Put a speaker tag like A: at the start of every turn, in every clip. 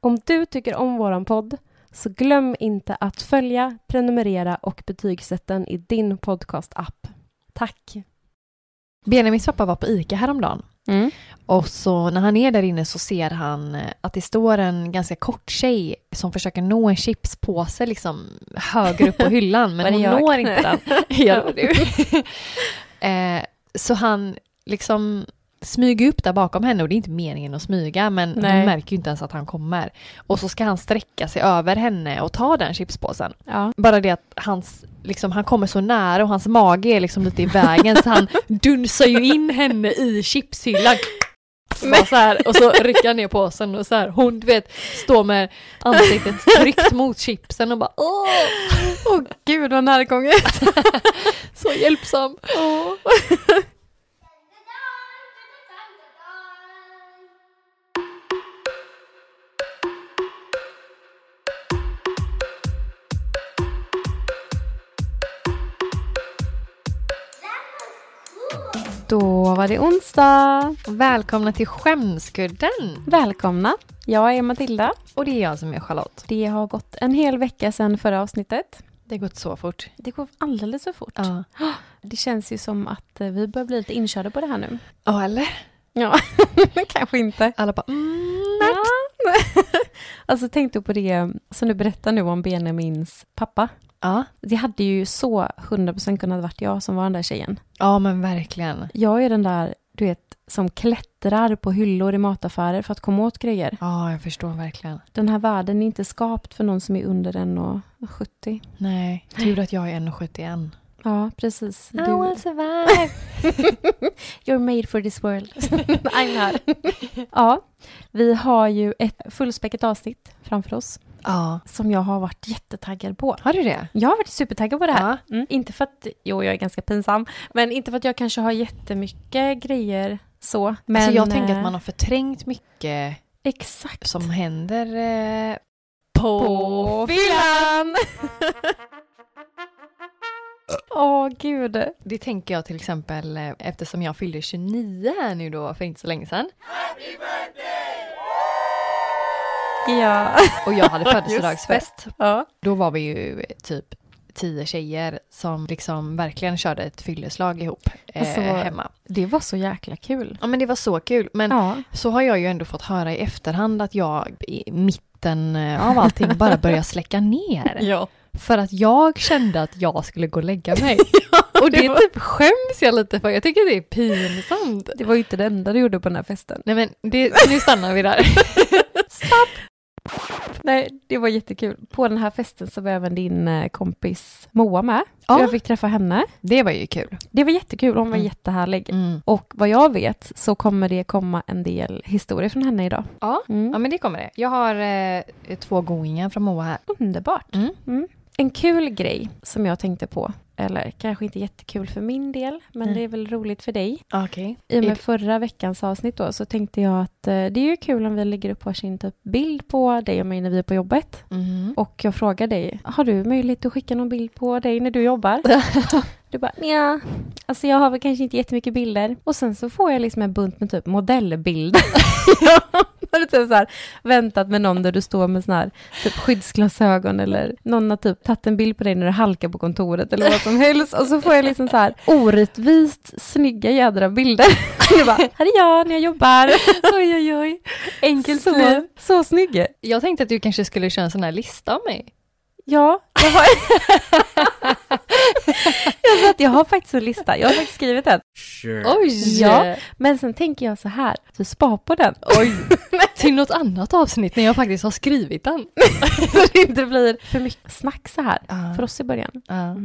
A: Om du tycker om våran podd så glöm inte att följa, prenumerera och betygsätta den i din podcastapp. Tack!
B: Benjamins pappa var på ICA häromdagen
A: Mm.
B: och så när han är där inne så ser han eh, att det står en ganska kort tjej som försöker nå en chipspåse liksom högre upp på hyllan
A: Var
B: men
A: det
B: hon
A: jag?
B: når inte den. ja, det var du. eh, så han liksom smyger upp där bakom henne och det är inte meningen att smyga men
A: Nej.
B: hon märker ju inte ens att han kommer. Och så ska han sträcka sig över henne och ta den chipspåsen.
A: Ja.
B: Bara det att hans, liksom, han kommer så nära och hans mage är liksom lite i vägen så han dunsar ju in henne i chipshyllan. Bara så här, och så rycker han ner påsen och så här, hon du vet, står med ansiktet tryckt mot chipsen och bara åh,
A: Åh gud vad närgången!
B: så hjälpsam.
A: Då var det onsdag!
B: Välkomna till Skämskudden!
A: Välkomna! Jag är Matilda.
B: Och det är jag som är Charlotte.
A: Det har gått en hel vecka sedan förra avsnittet.
B: Det har gått så fort.
A: Det går alldeles för fort.
B: Ja,
A: Det känns ju som att eh, vi börjar bli lite inkörda på det här nu.
B: ja eller?
A: Ja, kanske inte.
B: Alla bara mm, nej.
A: Ja. alltså tänk då på det som du berättar nu om Benjamins pappa.
B: ja.
A: Det hade ju så 100% kunnat varit jag som var den där tjejen.
B: ja, men verkligen.
A: Jag är den där, du vet, som klättrar på hyllor i mataffärer för att komma åt grejer.
B: Ja, jag förstår verkligen.
A: Den här världen är inte skapt för någon som är under 1,70.
B: Nej, tur att jag är 1,71.
A: Ja, precis. Du,
B: survive!
A: you're made for this world. I'm här. ja, vi har ju ett fullspäckat avsnitt framför oss
B: Ja.
A: som jag har varit jättetaggad på.
B: Har du det?
A: Jag har varit supertaggad på det här.
B: Ja.
A: Mm. Inte för att, jo jag är ganska pinsam, men inte för att jag kanske har jättemycket grejer så. Men
B: alltså jag tänker
A: eh,
B: att man har förträngt mycket
A: Exakt.
B: som händer eh, på...
A: på fyllan! Åh gud.
B: Det tänker jag till exempel eh, eftersom jag fyllde 29 här nu då för inte så länge sedan.
A: Ja.
B: Och jag hade födelsedagsfest.
A: ja.
B: Då var vi ju typ tio tjejer som liksom verkligen körde ett fylleslag ihop eh,
A: Alltså-
B: hemma.
A: Det var så jäkla kul.
B: Ja men det var så kul. Men
A: Ja.
B: så har jag ju ändå fått höra i efterhand att jag i mitten eh, av allting bara börjar släcka ner.
A: ja.
B: För att jag kände att jag skulle gå och lägga mig. och det
A: det var-
B: typ skäms jag lite för. Jag tycker det är pinsamt.
A: Det var ju inte det enda du gjorde på den här festen.
B: Nej men det, nu stannar vi där.
A: Nej, det var jättekul. På den här festen så var även din eh, kompis Moa med.
B: Ja.
A: Jag fick träffa henne.
B: Det var ju kul.
A: Det var jättekul, hon var
B: Mm.
A: jättehärlig. Och vad jag vet så kommer det komma en del historier från henne idag.
B: Ja.
A: Mm.
B: ja men det kommer det. Jag har eh, två goingar från Moa här.
A: Underbart.
B: Mm.
A: En kul grej som jag tänkte på, eller kanske inte jättekul för min del, men
B: Mm.
A: det är väl roligt för dig.
B: Okej.
A: I och
B: Är
A: med
B: det-
A: förra veckans avsnitt då så tänkte jag att eh, det är ju kul om vi lägger upp varsin typ bild på dig och mig när vi är på jobbet.
B: Mm.
A: Och jag frågar dig, har du möjlighet att skicka någon bild på dig när du jobbar? Du bara, ja, alltså jag har väl kanske inte jättemycket bilder. Och sen så får jag liksom en bunt med typ modellbilder. jag hade typ så här väntat med någon där du står med sån här typ skyddsglasögon eller någon har typ tagit en bild på dig när du halkar på kontoret eller vad som helst. Och så får jag liksom så här orättvist snygga jädra bilder. jag bara, här är jag när jag jobbar.
B: Oj oj oj. Enkelt
A: Så, så snygg.
B: Jag tänkte att du kanske skulle köra en sån här lista av mig.
A: Ja, jag har... jag, vet, jag har faktiskt en lista, jag har faktiskt skrivit den.
C: Sure.
B: Oj!
A: Ja. Men sen tänker jag så här, så spa på den.
B: Oj. Till något annat avsnitt när jag faktiskt har skrivit den.
A: Så det inte blir för mycket snack så här, för oss i början.
B: Ja.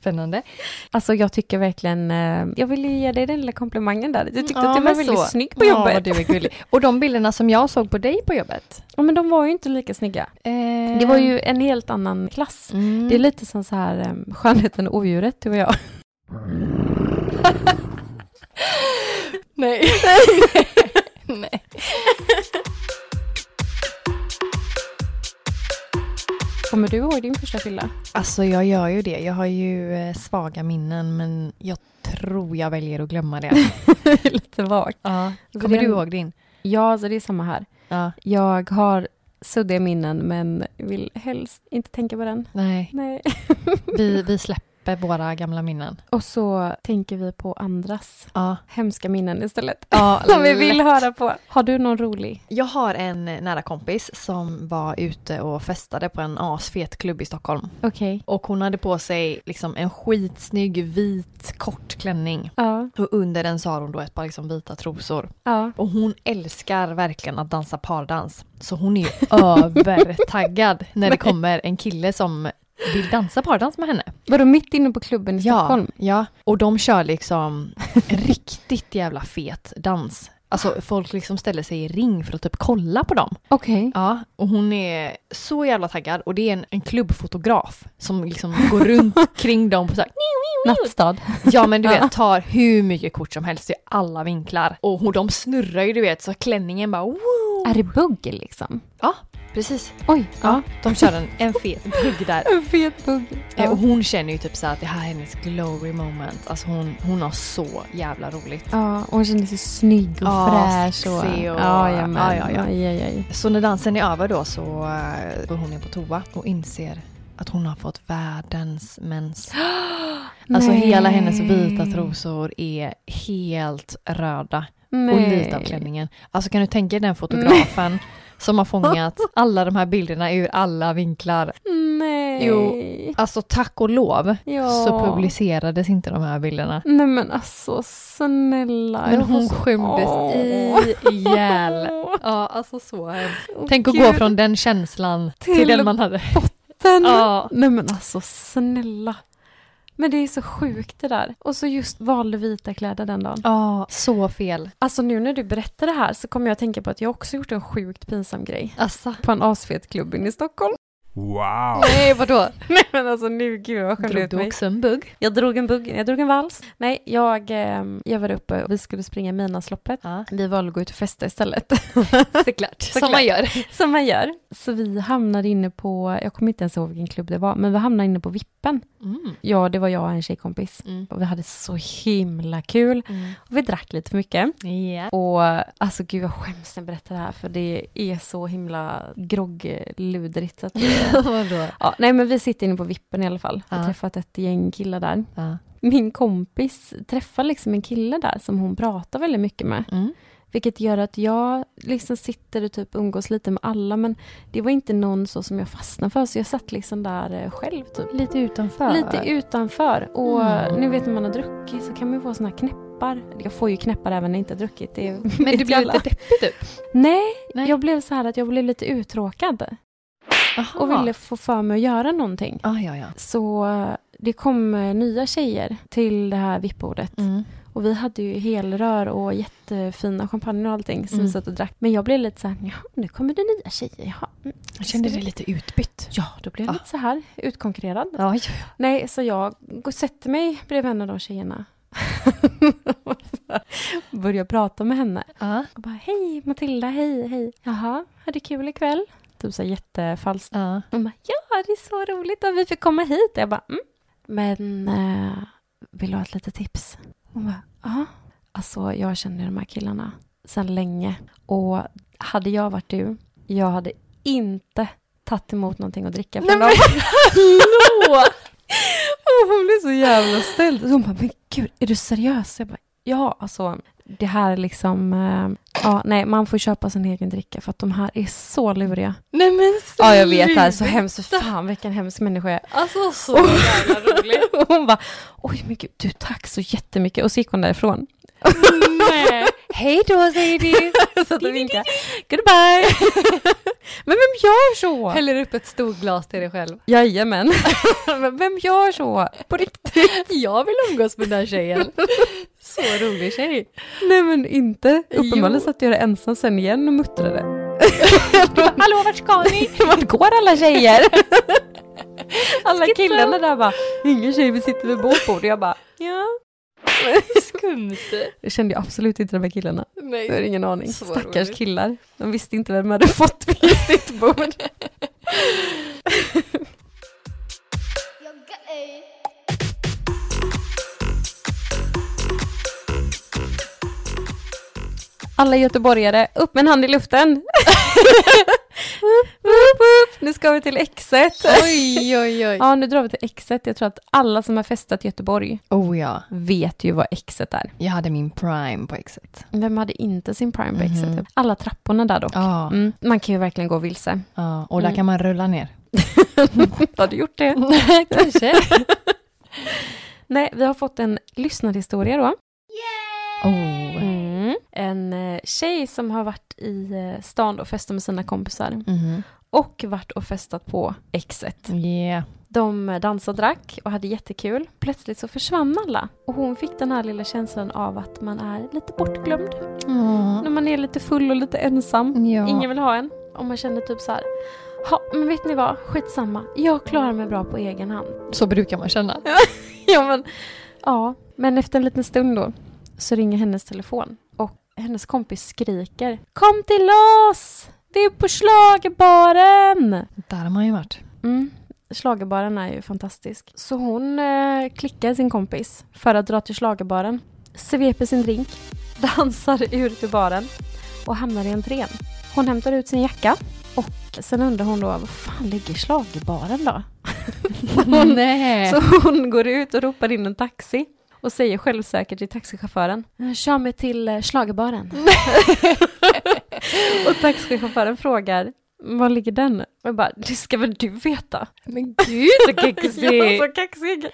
B: Spännande.
A: Alltså jag tycker verkligen, eh, jag ville ge dig den lilla komplimangen där. Du tyckte
B: Ja,
A: att du var
B: men
A: väldigt
B: så.
A: snygg på
B: Ja,
A: jobbet.
B: du är gullig. Och de bilderna som jag såg på dig på jobbet.
A: Ja, men de var ju inte lika snygga. Det var ju en helt annan klass.
B: Mm.
A: Det är lite som så här eh, Skönheten och odjuret, du och jag.
B: Nej. Nej.
A: Kommer du ihåg din första fylla?
B: Alltså jag gör ju det. Jag har ju eh, svaga minnen men jag tror jag väljer att glömma det.
A: lite vagt.
B: Ja.
A: Så
B: Kommer
A: den-
B: du ihåg din?
A: Ja, så det är samma här.
B: Ja.
A: Jag har suddiga minnen men vill helst inte tänka på den.
B: Nej,
A: Nej.
B: vi, vi släpper våra gamla minnen.
A: Och så tänker vi på andras
B: Ja.
A: hemska minnen istället.
B: Ja,
A: Som vi vill
B: lätt.
A: höra på. Har du någon rolig?
B: Jag har en eh, nära kompis som var ute och festade på en asfet klubb i Stockholm.
A: Okej.
B: Och hon hade på sig liksom en skitsnygg vit kort klänning.
A: Ja.
B: Och under den så har hon då ett par liksom vita trosor.
A: Ja.
B: Och hon älskar verkligen att dansa pardans. Så hon är ju övertaggad när det kommer en kille som vill dansa pardans med henne.
A: Var du mitt inne på klubben i Stockholm?
B: Ja, ja, och de kör liksom en riktigt jävla fet dans. Alltså folk liksom ställer sig i ring för att typ kolla på dem.
A: Okej.
B: Ja, och hon är så jävla taggad och det är en, en klubbfotograf som liksom går runt kring dem på så här,
A: Nattstad.
B: Ja men du vet, tar hur mycket kort som helst i alla vinklar. Och hon- de snurrar ju du vet så klänningen bara wow.
A: Är det bugg liksom?
B: Ja, precis.
A: Oj.
B: Ja, de kör en, en fet bugg där.
A: En fet bugg.
B: Eh, Och hon känner ju typ så här att det här är hennes glory moment. Alltså hon, hon har så jävla roligt.
A: Ja, och hon kände sig snygg och
B: Ja,
A: fräsch. Och,
B: sexig och-
A: ja, jajamän.
B: ja, ja, ja.
A: Aj, aj, aj.
B: Så när dansen är över då så eh, går hon in på toa och inser att hon har fått världens mens. Alltså
A: Nej.
B: hela hennes vita trosor är helt röda. Och lite av klänningen. Alltså kan du tänka dig den fotografen som har fångat alla de här bilderna ur alla vinklar.
A: Nej.
B: Jo. Alltså tack och lov
A: Ja.
B: så publicerades inte de här bilderna.
A: Nej men alltså snälla.
B: Men
A: jag får
B: hon
A: så-
B: skymdes
A: Åh.
B: ihjäl.
A: Åh,
B: Ja, alltså så hemskt.
A: åh,
B: Tänk att
A: gud.
B: gå från den känslan till,
A: Till
B: den man hade.
A: Den.
B: Ja.
A: Nej men alltså snälla. Men det är så sjukt det där. Och så just valde vita kläder den dagen.
B: ja, så fel.
A: Alltså nu när du berättar det här så kommer jag att tänka på att jag också gjort en sjukt pinsam grej.
B: Alltså.
A: På en asfet klubb inne i Stockholm.
C: Wow.
B: Nej, vadå?
A: Nej men alltså nu, gud jag skämde
B: Drog
A: ut
B: du
A: mig.
B: också en bugg?
A: Jag drog en bugg, jag drog en vals. Nej, jag, ehm, jag var uppe och vi skulle springa Midnattsloppet.
B: Ja,
A: Vi valde att gå ut och festa istället,
B: såklart. Som
A: Såklart.
B: man gör.
A: som man gör. Så vi hamnade inne på, jag kommer inte ens ihåg vilken klubb det var, men vi hamnade inne på Vippen.
B: Mm.
A: Ja, det var jag och en tjejkompis.
B: Mm.
A: Och vi hade så himla kul. Och vi drack lite för mycket.
B: Ja.
A: Och alltså gud jag skäms när jag berättar det här för det är så himla groggludrigt. Så att,
B: vadå?
A: ja, nej men vi sitter inne på vippen i alla fall. Jag har
B: Ja.
A: träffat ett gäng killar där.
B: Ja.
A: Min kompis träffar liksom en kille där som hon pratar väldigt mycket med.
B: Mm.
A: Vilket gör att jag liksom sitter och typ umgås lite med alla men det var inte någon så som jag fastnade för så jag satt liksom där eh, själv typ.
B: Lite utanför.
A: Lite utanför och
B: Mm.
A: nu vet när man har druckit så kan man ju få såna här knäppar. Jag får ju knäppar även när jag inte har druckit. Det
B: Men
A: vet
B: du
A: ju
B: blev
A: alla.
B: lite deppig typ?
A: Nej,
B: Nej.
A: jag blev så här att jag blev lite uttråkad
B: Aha.
A: och ville få för mig att göra någonting.
B: Ah, ja, ja.
A: Så eh, det kom eh, nya tjejer till det här vippbordet.
B: Mm.
A: Och vi hade ju helrör och jättefina champagne och allting som
B: Mm.
A: vi satt och drack. Men jag blev lite så här, ja, nu kommer det nya tjejer. Jaha. mm."
B: Jag kände dig lite utbytt.
A: Ja, då
B: Ah.
A: blev jag lite så här utkonkurrerad.
B: Oj.
A: Nej, så jag går och sätter mig bredvid en av de tjejerna. Och så Börjar prata med henne.
B: Ja.
A: Och bara, hej Matilda, hej, hej. Jaha, hade kul ikväll? Typ så här jättefalskt.
B: Ja.
A: Hon bara, ja det är så roligt att vi fick komma hit. Jag bara, mm. Men eh, vill du ha ett litet tips? Hon bara, ja. Alltså jag känner de här killarna sedan länge. Och hade jag varit du, jag hade inte tagit emot någonting att dricka från dem. Och hon blev så jävla ställd. Så hon bara, men gud, är du seriös? Jag bara, ja, alltså det här är liksom, eh, ja, nej, man får köpa sin egen dricka för att de här är så luriga.
B: Nej men
A: Ja, jag vet, det här är så hemskt, för fan vilken hemsk människa jag är.
B: Alltså så jävla roligt.
A: Och hon bara, oj men gud, du tack så jättemycket. Och så gick hon därifrån.
B: Nej. Hej då säger du.
A: Så att de vinkade, goodbye. men vem gör så?
B: Häller upp ett stort glas till dig själv.
A: Jajamän. Men vem gör så? På riktigt?
B: Jag vill umgås med den här tjejen. Så rolig tjej.
A: Nej men inte.
B: Jo.
A: Uppenbarligen satt jag där ensam sen igen och muttrade.
B: Hallå vart ska ni?
A: Vart går alla tjejer? Alla killarna där bara, ingen tjej vill sitta vid vårt bord. Och jag bara,
B: Ja. Skumt.
A: jag kände ju absolut inte de här killarna. Jag har
B: Nej.
A: ingen aning.
B: Så
A: Stackars
B: roligt.
A: killar. De visste inte vem de hade fått vid sitt bord. alla göteborgare, upp med en hand i luften! Upp, upp. Nu ska vi till exet.
B: Oj, oj, oj.
A: Ja, nu drar vi till exet. Jag tror att alla som har festat i Göteborg
B: Oh ja,
A: vet ju vad exet är.
B: jag hade min prime på exet.
A: Vem hade inte sin prime på exet?
B: Mhm.
A: Alla trapporna där dock.
B: Ja,
A: Mm, man kan ju verkligen gå vilse.
B: ja. och där
A: Mm.
B: kan man rulla ner.
A: Har du gjort det?
B: Kanske.
A: Nej, vi har fått en lyssnarhistoria då.
B: Oh.
A: Mm. En eh, tjej som har varit i eh, stan och festat med sina kompisar
B: Mhm.
A: och varit och festat på exet.
B: Yeah.
A: De eh, dansade och drack och hade jättekul. Plötsligt så försvann alla och hon fick den här lilla känslan av att man är lite bortglömd. När man är lite full och lite ensam.
B: Ja.
A: Ingen vill ha en. Om man känner typ så här. Ja, men vet ni vad? Skitsamma. Jag klarar mig bra på egen hand.
B: Så brukar man känna.
A: ja, men, ja, men efter en liten stund då så ringer hennes telefon och hennes kompis skriker Kom till oss! Vi är på schlagerbaren!
B: Där har man ju varit.
A: Mm. Schlagerbaren är ju fantastisk. Så hon eh, klickar sin kompis för att dra till schlagerbaren, sveper sin drink, dansar ut ur baren och hamnar i entrén. Hon hämtar ut sin jacka och sen undrar hon då, var fan ligger schlagerbaren då? Hon-
B: Nej.
A: Så hon går ut och ropar in en taxi och säger självsäkert till taxichauffören Kör mig till eh, schlagerbaren. och taxichauffören frågar Var ligger den? Och jag bara, det ska väl du veta?
B: Men gud så
A: Jag var så kaxig!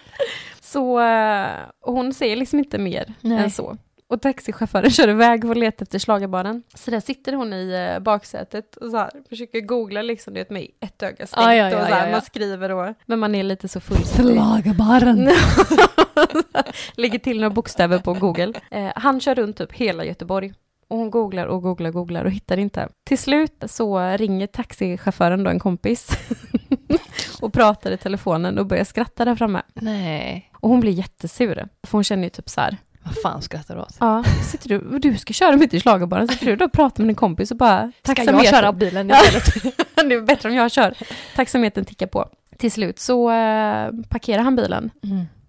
A: Så eh, och hon säger liksom inte mer
B: Nej.
A: än så. Och taxichauffören kör iväg och letar efter schlagerbaren. Så där sitter hon i eh, baksätet och så här, försöker googla liksom, du vet, med ett öga stängt.
B: Ah, ja, ja,
A: och så här,
B: ja, ja.
A: Man skriver och, men man är lite så full. så det-
B: Slagerbaren.
A: Lägger till några bokstäver på Google. Eh, han kör runt typ hela Göteborg. Och hon googlar och googlar och googlar och hittar inte. Till slut så ringer taxichauffören då en kompis och pratar i telefonen och börjar skratta där framme.
B: Nej.
A: Och hon blir jättesur. För hon känner ju typ så här,
B: Vad fan skrattar du åt?
A: ja, sitter du, du ska köra mig till schlagerbaren, sitter du då och pratar med din kompis och bara...
B: Ska
A: taxameter-
B: jag köra bilen
A: Ja.
B: istället?
A: det är bättre om jag kör. Taxametern tickar på. Till slut så eh, parkerar han bilen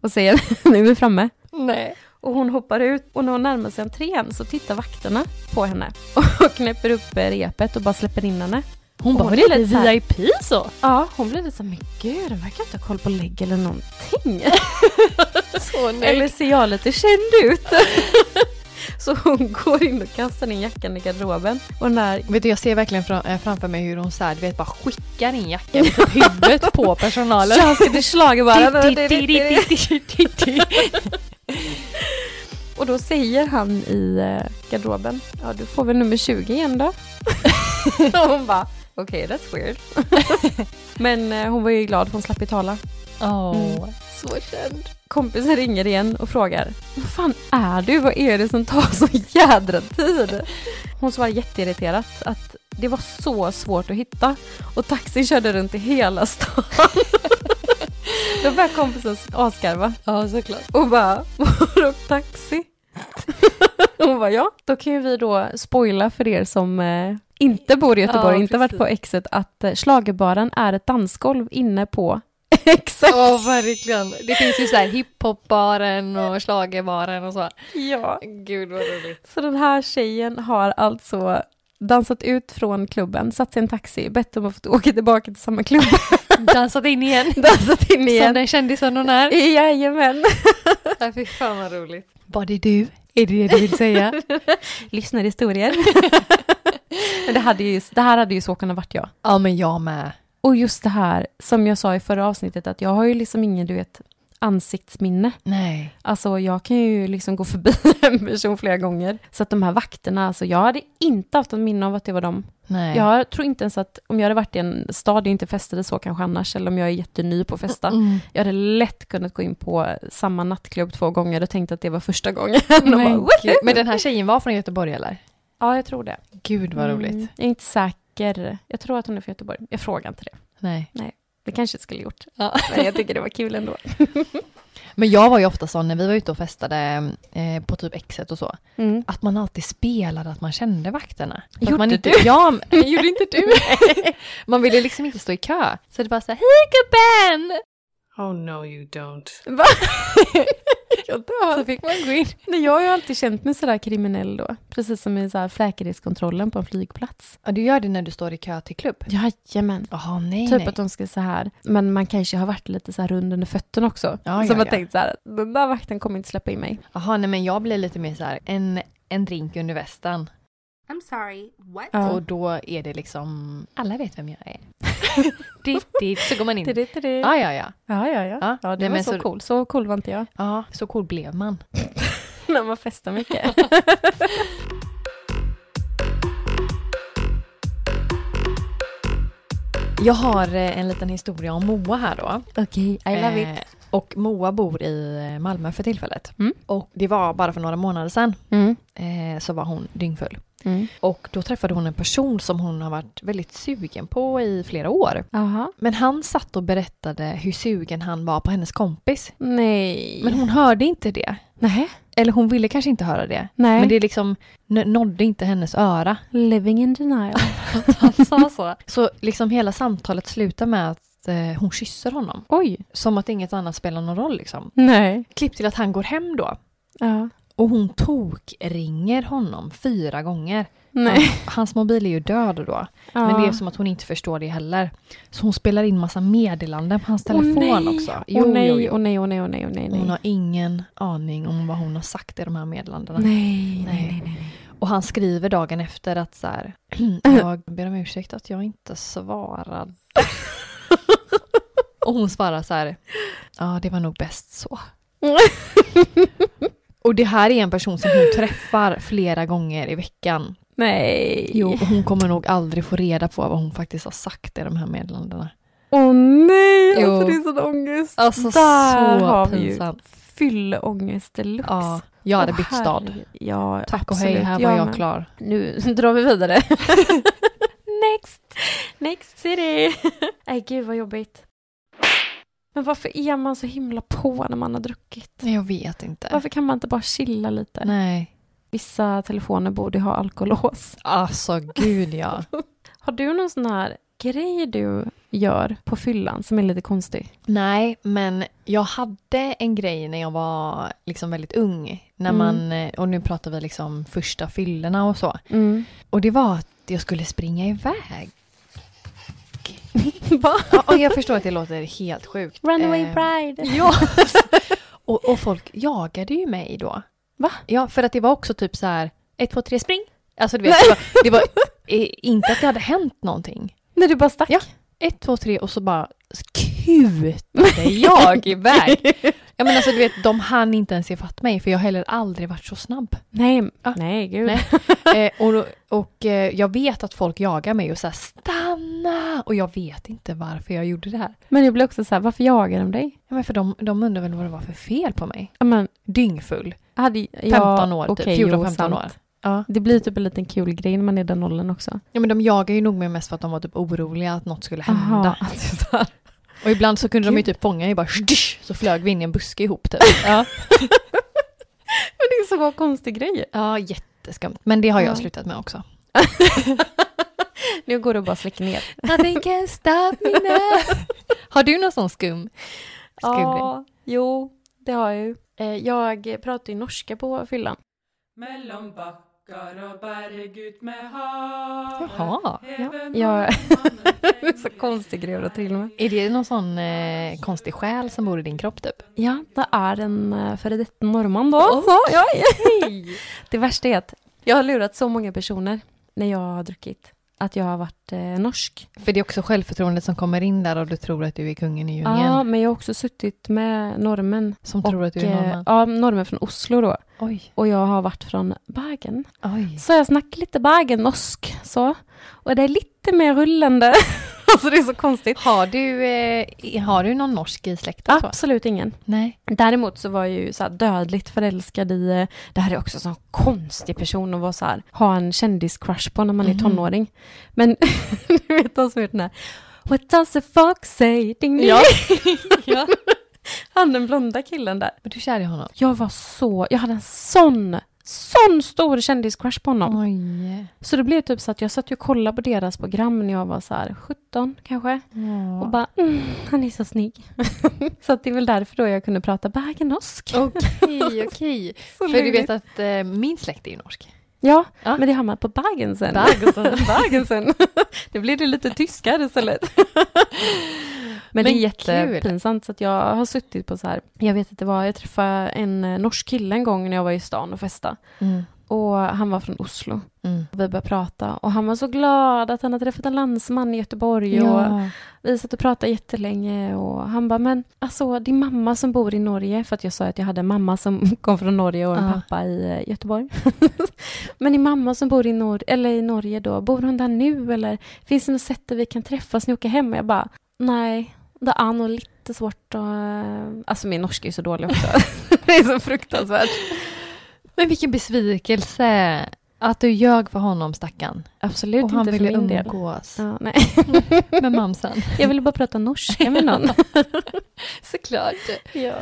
A: och säger, nu är vi framme.
B: Mm. Nej.
A: Och hon hoppar ut och när hon närmar sig entrén så tittar vakterna på henne och knäpper upp repet och bara släpper in henne.
B: Hon bara,
A: Hon
B: var
A: är
B: det
A: lite så
B: lite
A: här-
B: VIP så?
A: Ja, hon blir lite så här, men gud, den verkar inte ha koll på lägg eller någonting.
B: Så
A: Eller ser jag lite känd ut? så hon går in och kastar in jackan i garderoben och när
B: Vet du, jag ser verkligen fram, eh, framför mig hur hon så här, du vet, bara skickar in jackan i typ huvudet på personalen.
A: jag ska till schlagerbaren och då säger han i eh, garderoben, ja du får väl nummer 20 igen då. och hon bara, okej that's weird. Men eh, hon var ju glad för hon slapp betala.
B: Åh.
A: Så känd. Kompisen ringer igen och frågar Vad fan är du? Vad är det som tar så jädra tid? Hon svarar jätteirriterat att det var så svårt att hitta och taxin körde runt i hela stan. Då börjar kompisen asgarva
B: Ja, såklart.
A: och bara Vadå taxi? Hon bara ja. Då kan ju vi då spoila för er som eh, inte bor i Göteborg,
B: Ja,
A: inte varit
B: precis.
A: på Exet, att eh, schlagerbaren är ett dansgolv inne på Exet.
B: Ja, verkligen. Det finns ju så här hiphopbaren och schlagerbaren och så.
A: Ja.
B: Gud vad roligt.
A: Så den här tjejen har alltså dansat ut från klubben, satt sig i en taxi, bett om att få åka tillbaka till samma klubb,
B: Dansat in igen.
A: dansat in
B: Som
A: igen.
B: den kändisen hon är.
A: Jajamän.
B: Ja, fy fan vad roligt. Var det du? Är det det du vill säga?
A: Lyssnar historier. Men det, hade ju, det här hade ju så kunnat varit jag.
B: ja, men jag med.
A: Och just det här, som jag sa i förra avsnittet, att jag har ju liksom ingen, du vet, ansiktsminne.
B: Nej.
A: Alltså jag kan ju liksom gå förbi en person flera gånger. Så att de här vakterna, alltså jag hade inte haft ett minne av att det var dem.
B: Nej.
A: Jag tror inte ens att om jag hade varit i en stad jag inte festade så kanske annars, eller om jag är jätteny på att festa,
B: Mm.
A: jag hade lätt kunnat gå in på samma nattklubb två gånger och tänkt att det var första gången. Och bara,
B: Men,
A: "Woo!"
B: gud. men den här tjejen var från Göteborg eller?
A: ja, jag tror det.
B: Gud vad roligt.
A: Mm, jag är inte säker. Jag tror att hon är från Göteborg. Jag frågar inte det.
B: Nej.
A: Det kanske jag skulle gjort.
B: Ja.
A: Men jag tycker det var kul ändå.
B: Men jag var ju ofta sån när vi var ute och festade eh, på typ exet och så.
A: Mm.
B: Att man alltid spelade att man kände vakterna. För att
A: Gjorde
B: man inte,
A: du?
B: Ja, men- gjorde inte du? man ville liksom inte stå i kö. Så det var så här, hej gubben!
C: Oh no, you don't.
A: jag dör. Så fick man gå in. Nej, jag har ju alltid känt mig sådär kriminell då. Precis som i så här säkerhetskontrollen på en flygplats.
B: Ja, du gör det när du står i kö till klubb?
A: Jajamän.
B: Jaha, nej,
A: Typ
B: nej.
A: att de ska så här, men man kanske har varit lite så här rund under fötterna också.
B: Ja,
A: så
B: ja,
A: man
B: ja.
A: tänkt så här, den där vakten kommer inte släppa in mig.
B: Jaha, nej men jag blir lite mer så här, en, en drink under västen.
C: I'm sorry, what?
A: Ja.
B: Och då är det liksom, alla vet vem jag är. dit, dit, så går man in.
A: Tiddi, tiddi.
B: Ja, ja, ja.
A: Ja, ja, ja.
B: Ja,
A: Ja,
B: nej,
A: det var
B: men
A: så,
B: så-
A: cool. Så cool var inte jag.
B: Ja, så cool blev man.
A: När man festar mycket.
B: Jag har eh, en liten historia om Moa här då.
A: Okej, I love it.
B: Eh, Och Moa bor i eh, Malmö för tillfället.
A: Mm.
B: Och det var bara för några månader sedan
A: Mm.
B: eh, så var hon dyngfull.
A: Mm.
B: Och då träffade hon en person som hon har varit väldigt sugen på i flera år.
A: Aha.
B: Men han satt och berättade hur sugen han var på hennes kompis.
A: Nej.
B: Men hon hörde inte det.
A: nej.
B: Eller hon ville kanske inte höra det.
A: nej.
B: Men det liksom n- nådde inte hennes öra.
A: Living in denial.
B: Han sa så. Så liksom hela samtalet slutar med att eh, hon kysser honom.
A: Oj.
B: Som att inget annat spelar någon roll liksom.
A: Nej.
B: Klipp till att han går hem då.
A: Ja.
B: Och hon tokringer honom fyra gånger.
A: Nej.
B: Hans mobil är ju död då.
A: Ja.
B: Men det är som att hon inte förstår det heller. Så hon spelar in massa meddelanden på hans
A: Åh,
B: telefon
A: nej.
B: också.
A: Åh nej, åh nej, åh nej, åh nej, åh nej.
B: Hon har ingen aning om vad hon har sagt i de här meddelandena.
A: Nej, nej,
B: Nej.
A: nej, nej, nej.
B: Och han skriver dagen efter att så här, jag ber om ursäkt att jag inte svarade. Och hon svarar så här, ja det var nog bäst så. Och det här är en person som hon träffar flera gånger i veckan.
A: Nej.
B: Och hon kommer nog aldrig få reda på vad hon faktiskt har sagt i de här meddelandena.
A: Åh nej,
B: Jo.
A: alltså det är sån ångest.
B: Alltså
A: Där
B: så
A: har vi ju
B: pinsamt.
A: Fylleångest deluxe.
B: Ja, jag hade
A: Åh,
B: bytt stad.
A: herregud. Ja,
B: Tack och
A: absolut.
B: hej, här var jag
A: men-
B: klar.
A: Nu drar vi vidare. Next! Next city! Nej, gud vad jobbigt. Men varför är man så himla på när man har druckit?
B: Nej, jag vet inte.
A: Varför kan man inte bara chilla lite?
B: Nej.
A: Vissa telefoner borde ju ha alkolås.
B: Alltså gud ja.
A: Har du någon sån här grej du gör på fyllan som är lite konstig?
B: Nej, men jag hade en grej när jag var liksom väldigt ung. När
A: Mm.
B: man, eh, och nu pratar vi liksom första fyllorna och så. Och det var att jag skulle springa iväg.
A: Va?
B: Ja, och jag förstår att det låter helt sjukt.
A: Runaway
B: Eh,
A: pride!
B: Ja. och, och folk jagade ju mig då.
A: Va?
B: Ja, för att det var också typ så här, ett, två, tre, spring. Alltså du vet, det var, det var eh, inte att det hade hänt någonting.
A: När du bara stack?
B: Ja. Ett, två, tre och så bara kutade jag iväg. Ja men alltså du vet, de hann inte ens ifatt mig för jag har heller aldrig varit så snabb.
A: Nej,
B: Ja.
A: nej gud.
B: Nej. Eh, och och eh, jag vet att folk jagar mig och säger stanna! Och jag vet inte varför jag gjorde det här.
A: Men jag blir också så här, varför jagar de dig?
B: Ja, men för de, de undrar väl vad det var för fel på mig.
A: Ja, men,
B: Dyngfull.
A: hade, ja,
B: 15 år,
A: okej,
B: typ.
A: jo,
B: 14-15
A: sant.
B: år. Ja.
A: Det blir typ en liten kul grej när man är den åldern också.
B: ja, men de jagar ju nog mig mest för att de var typ oroliga att något skulle hända. Alltså,
A: Aha.
B: Och ibland så kunde de ju
A: Gud.
B: typ fånga mig bara "Shdish!" så flög vi in i en buske ihop typ.
A: Ja. Men det är så konstig grej.
B: Ja, jätteskumt. Men det har jag
A: Ja.
B: slutat med också.
A: Nu går det bara släcker ner.
B: Nothing can stop me now. Har du någon sån skum? skum grej?
A: Ja, jo, det har jag ju. Eh, Jag pratar ju norska på fyllan.
D: Mellom bakkar og berg ut med havet
B: Jaha.
D: Even
A: Ja.
D: om mannen
A: Det är så konstig grej att trilla med.
B: Är det någon sånn eh, konstig själ som bor i din kropp typ?
A: Ja, det är en eh, före detta norrman då. Så, ja, ja. Det värsta är att jag har lurat så många personer när jag har druckit att jag har varit eh, norsk.
B: För det är också självförtroendet som kommer in där och du tror att du är kungen i djungeln.
A: Ja, men jag har också suttit med normen.
B: Som tror att du är norrman.
A: Ja, normen från Oslo då.
B: Oj,
A: Och jag har varit från Bergen.
B: oj.
A: Så jag snackar lite bergennorsk, så. Och det är lite mer rullande. alltså det är så konstigt.
B: Har du, eh, i- har du någon norsk i släkten? så?
A: Absolut ingen.
B: Nej.
A: Däremot så var jag ju så här dödligt förälskad i, eh, det här är också en sån konstig person att vara så här, ha en kändiscrush på när man är
B: Mhm.
A: tonåring. Men du vet de som gjort den här, What does the fuck say? Ding, ding.
B: Ja. ja.
A: Han den blonda killen där.
B: Men du är kär i honom?
A: Jag var så, jag hade en sån sån stor kändiscrush på
B: Mm.
A: honom.
B: Oj.
A: Så det blev typ så att jag satt ju och kollade på deras program när jag var så här 17 kanske. Och bara, mm, han är så snygg. så att det är väl därför då jag kunde prata bergensk.
B: Okej, okej.
A: Så
B: För du
A: lurigt.
B: vet att eh, min släkt är ju norsk.
A: Ja,
B: Ja.
A: men det hamnade på Bergensen.
B: Bergensen.
A: Bergensen. det blev det lite tyskare istället. Men, det
B: Men
A: är jättepinsamt, så att jag har suttit på så här, jag vet inte vad, jag träffade en eh, norsk kille en gång när jag var i stan och festa.
B: Mm.
A: Och han var från Oslo. Vi började prata och han var så glad att han hade träffat en landsman i Göteborg. Och
B: Ja.
A: vi satt och pratade jättelänge och han bara, men alltså din mamma som bor i Norge, för att jag sa att jag hade en mamma som kom från Norge och en
B: Ja.
A: pappa i eh, Göteborg. men din mamma som bor i, Nor- eller i Norge då, bor hon där nu eller finns det något sätt där vi kan träffas när jag åker hem? Och jag bara, nej, det är nog lite svårt att... eh," Alltså min norska är ju så dålig också. det är så fruktansvärt.
B: Men vilken besvikelse att du ljög för honom stackarn.
A: Absolut
B: Och han
A: inte för
B: ville
A: min del.
B: umgås
A: Ja, nej.
B: med mamsen.
A: Jag ville bara prata norska med någon.
B: Såklart.
A: ja.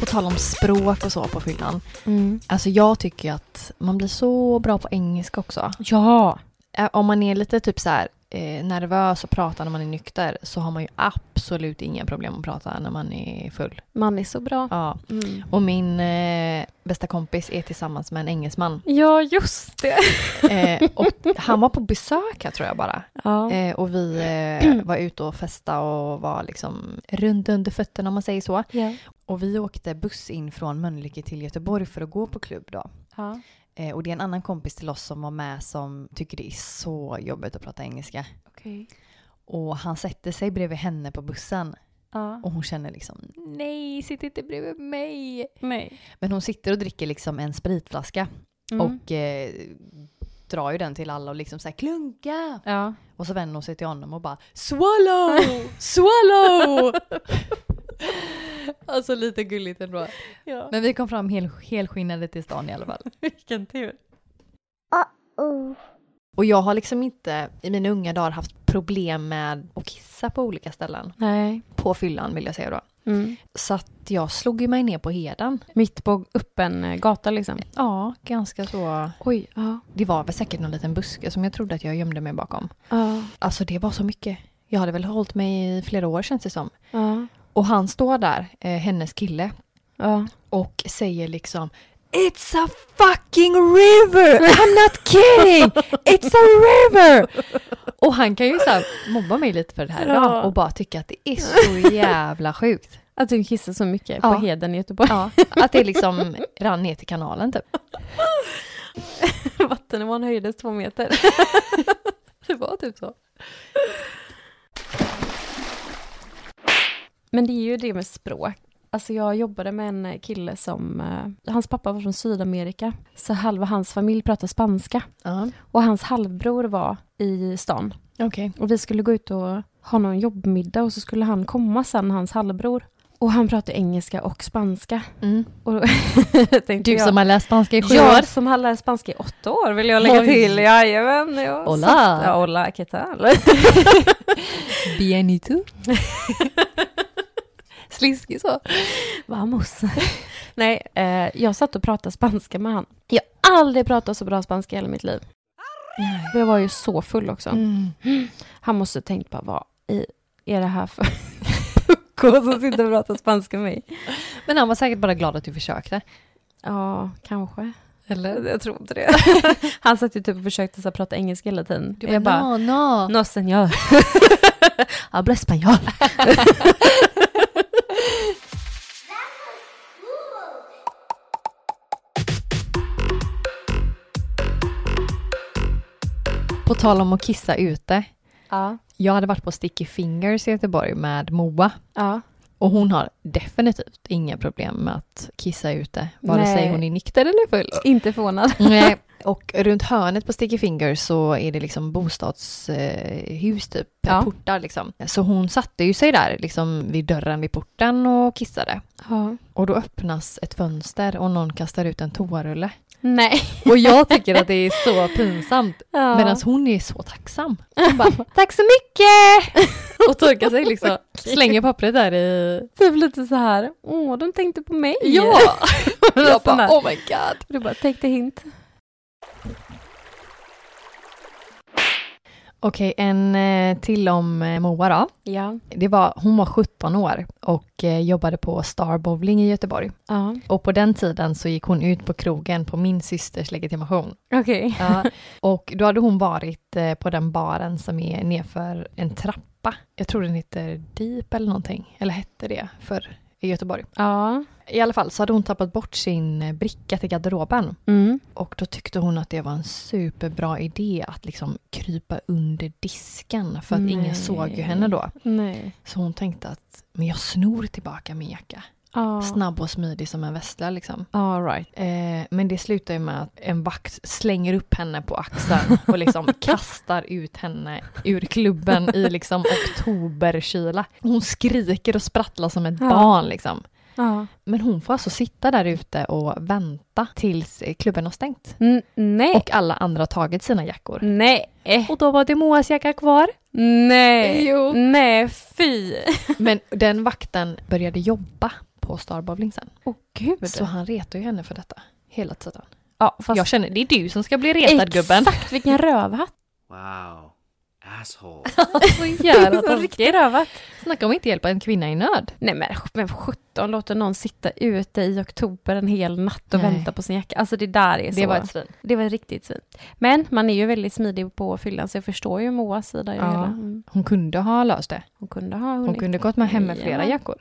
B: På tal om språk och så på fyllan.
A: Mm.
B: Alltså jag tycker ju att man blir så bra på engelska också.
A: ja.
B: Ä- Om man är lite typ så här eh, nervös och pratar när man är nykter så har man ju absolut inga problem att prata när man är full.
A: Man är så bra.
B: Ja.
A: Mm.
B: Och min eh, bästa kompis är tillsammans med en engelsman.
A: Ja, just det.
B: Eh, och han var på besök här tror jag bara.
A: Ja.
B: Eh, och vi eh, var ute och festa och var liksom runt under fötterna om man säger så.
A: Ja.
E: Och vi åkte buss in från Mölnlycke till Göteborg för att gå på klubb då.
A: Ja.
E: Eh, och det är en annan kompis till oss som var med som tycker det är så jobbigt att prata engelska.
A: Okej.
E: Och han sätter sig bredvid henne på bussen
A: Ja.
E: och hon känner liksom nej, sitt inte bredvid mig.
A: Nej.
E: Men hon sitter och dricker liksom en spritflaska
A: Mm.
E: och eh, drar ju den till alla och liksom så här klunka.
A: Ja.
E: Och så vänder hon sig till honom och bara swallow, swallow. alltså lite gulligt ändå.
A: ja.
E: Men vi kom fram hel, helskinnade till stan i alla fall.
A: Vilken tur.
B: Och jag har liksom inte i mina unga dagar haft problem med att kissa på olika ställen.
A: Nej.
B: På fyllan vill jag säga då.
A: Mm.
B: Så att jag slog ju mig ner på heden.
A: Mitt på öppen eh, gata liksom.
B: Ja, ganska så.
A: Oj. Ja.
B: Det var väl säkert någon liten buske som jag trodde att jag gömde mig bakom.
A: Ja.
B: Alltså det var så mycket. Jag hade väl hållit mig i flera år känns det som.
A: Ja.
B: Och han står där, eh, hennes kille,
A: Ja.
B: och säger liksom It's a fucking river! I'm not kidding! It's a river! Och han kan ju så här mobba mig lite för det här
A: Ja.
B: idag och bara tycka att det är så jävla sjukt.
A: Att du kissar så mycket
B: Ja.
A: på heden i Göteborg.
B: Ja, att det liksom rann ner till kanalen typ.
A: Vattennivån höjdes två meter.
B: Det var typ så.
A: Men det är ju det med språk. Alltså jag jobbade med en kille som, eh, hans pappa var från Sydamerika, så halva hans familj pratar spanska.
B: Ja,
A: Och hans halvbror var i stan.
B: okej.
A: Och vi skulle gå ut och ha någon jobbmiddag och så skulle han komma sen, hans halvbror. Och han pratade engelska och spanska.
B: Mm.
A: Och då tänkte
B: Du
A: jag,
B: som har läst spanska i sju år.
A: jag som har lärt spanska i åtta år vill jag lägga
B: Oj.
A: till. Jajamän. jag
B: Hola.
A: satt- Ja, hola, ¿qué tal?
B: Bienito. Sliskig så.
A: Vamos. Nej, eh, jag satt och pratade spanska med han. Jag har aldrig pratat så bra spanska i hela mitt liv. Och Jag var ju så full också.
B: Mm.
A: Han måste ha tänkt bara, vad i, är det här för pucko som sitter och pratar spanska med mig?
B: Men han var säkert bara glad att du försökte.
A: Ja, kanske.
B: Eller?
A: Jag tror inte det. Han satt ju typ och försökte så här, prata engelska hela tiden.
B: Du bara, no, no.
A: no señor. Habla español.
B: På tal om att kissa ute.
A: Ja.
B: Jag hade varit på Sticky Fingers i Göteborg med Moa.
A: Ja.
B: Och hon har definitivt inga problem med att kissa ute. Vare sig
A: Nej.
B: hon är nykter eller full.
A: Inte förvånad.
B: Nej. Och runt hörnet på Sticky Fingers så är det liksom bostadshus eh, hus typ.
A: Ja.
B: Portar liksom. Så hon satte ju sig där liksom vid dörren vid porten och kissade.
A: Ja.
B: Och då öppnas ett fönster och någon kastar ut en toarulle.
A: Nej.
B: Och jag tycker att det är så pinsamt.
A: Ja.
B: Medan hon är så tacksam. Hon bara, tack så mycket! Och torkar sig liksom. Slänger pappret där i...
A: Typ lite så här, åh, de tänkte på mig.
B: jag
A: Sån
B: bara,
A: där.
B: oh my god.
A: Du bara, take the hint.
B: Okej, en eh, till om eh, Moa då.
A: Ja.
B: Det var, hon var 17 år och eh, jobbade på Star Bowling i Göteborg.
A: Ja.
B: Och på den tiden så gick hon ut på krogen på min systers legitimation.
A: Okej.
B: Och då hade hon varit eh, på den baren som är nedför en trappa. Jag tror den heter Deep eller någonting. Eller hette det förr i Göteborg.
A: Ja.
B: I alla fall så hade hon tappat bort sin eh, bricka till garderoben.
A: Mm.
B: Och då tyckte hon att det var en superbra idé att liksom krypa under disken. För att ingen
A: Nej.
B: såg ju henne då.
A: Nej.
B: Så hon tänkte att men jag snor tillbaka min jacka.
A: Ja.
B: Snabb och smidig som en vessla liksom.
A: All right.
B: Eh, men det slutar ju med att en vakt slänger upp henne på axeln och liksom kastar ut henne ur klubben i liksom oktoberkyla. Hon skriker och sprattlar som ett
A: Ja.
B: barn liksom.
A: Ja.
B: Men hon får alltså sitta där ute och vänta tills klubben har stängt.
A: N- nej.
B: Och alla andra har tagit sina jackor.
A: Nej. Eh.
B: Och då var det Moas jacka kvar.
A: Nej.
B: Jo.
A: Nej, fy.
B: Men den vakten började jobba på Starbowling sen.
A: Åh gud.
B: Så han retar ju henne för detta. Hela tiden.
A: ja, fast
B: Jag känner, det är du som ska bli retad gubben.
A: Exakt, vilken rövhatt.
F: Wow. Asshole.
B: Så jävla
A: Så
B: tråkigt.
A: Riktig rövhatt.
B: alltså, Snacka om att inte hjälpa en kvinna i nöd.
A: Nej men, men 17 låter någon sitta ute i oktober en hel natt och
B: Nej.
A: vänta på sin jacka. Alltså det där är så.
B: svin.
A: det var riktigt fint. Men man är ju väldigt smidig på fyllan så jag förstår ju Moas sida.
B: Ja.
A: Ja. Hela. Mm.
B: Hon kunde ha löst det.
A: Hon kunde ha
B: Hon
A: hunnit.
B: kunde gått med hem med flera
A: Jajamän.
B: jackor.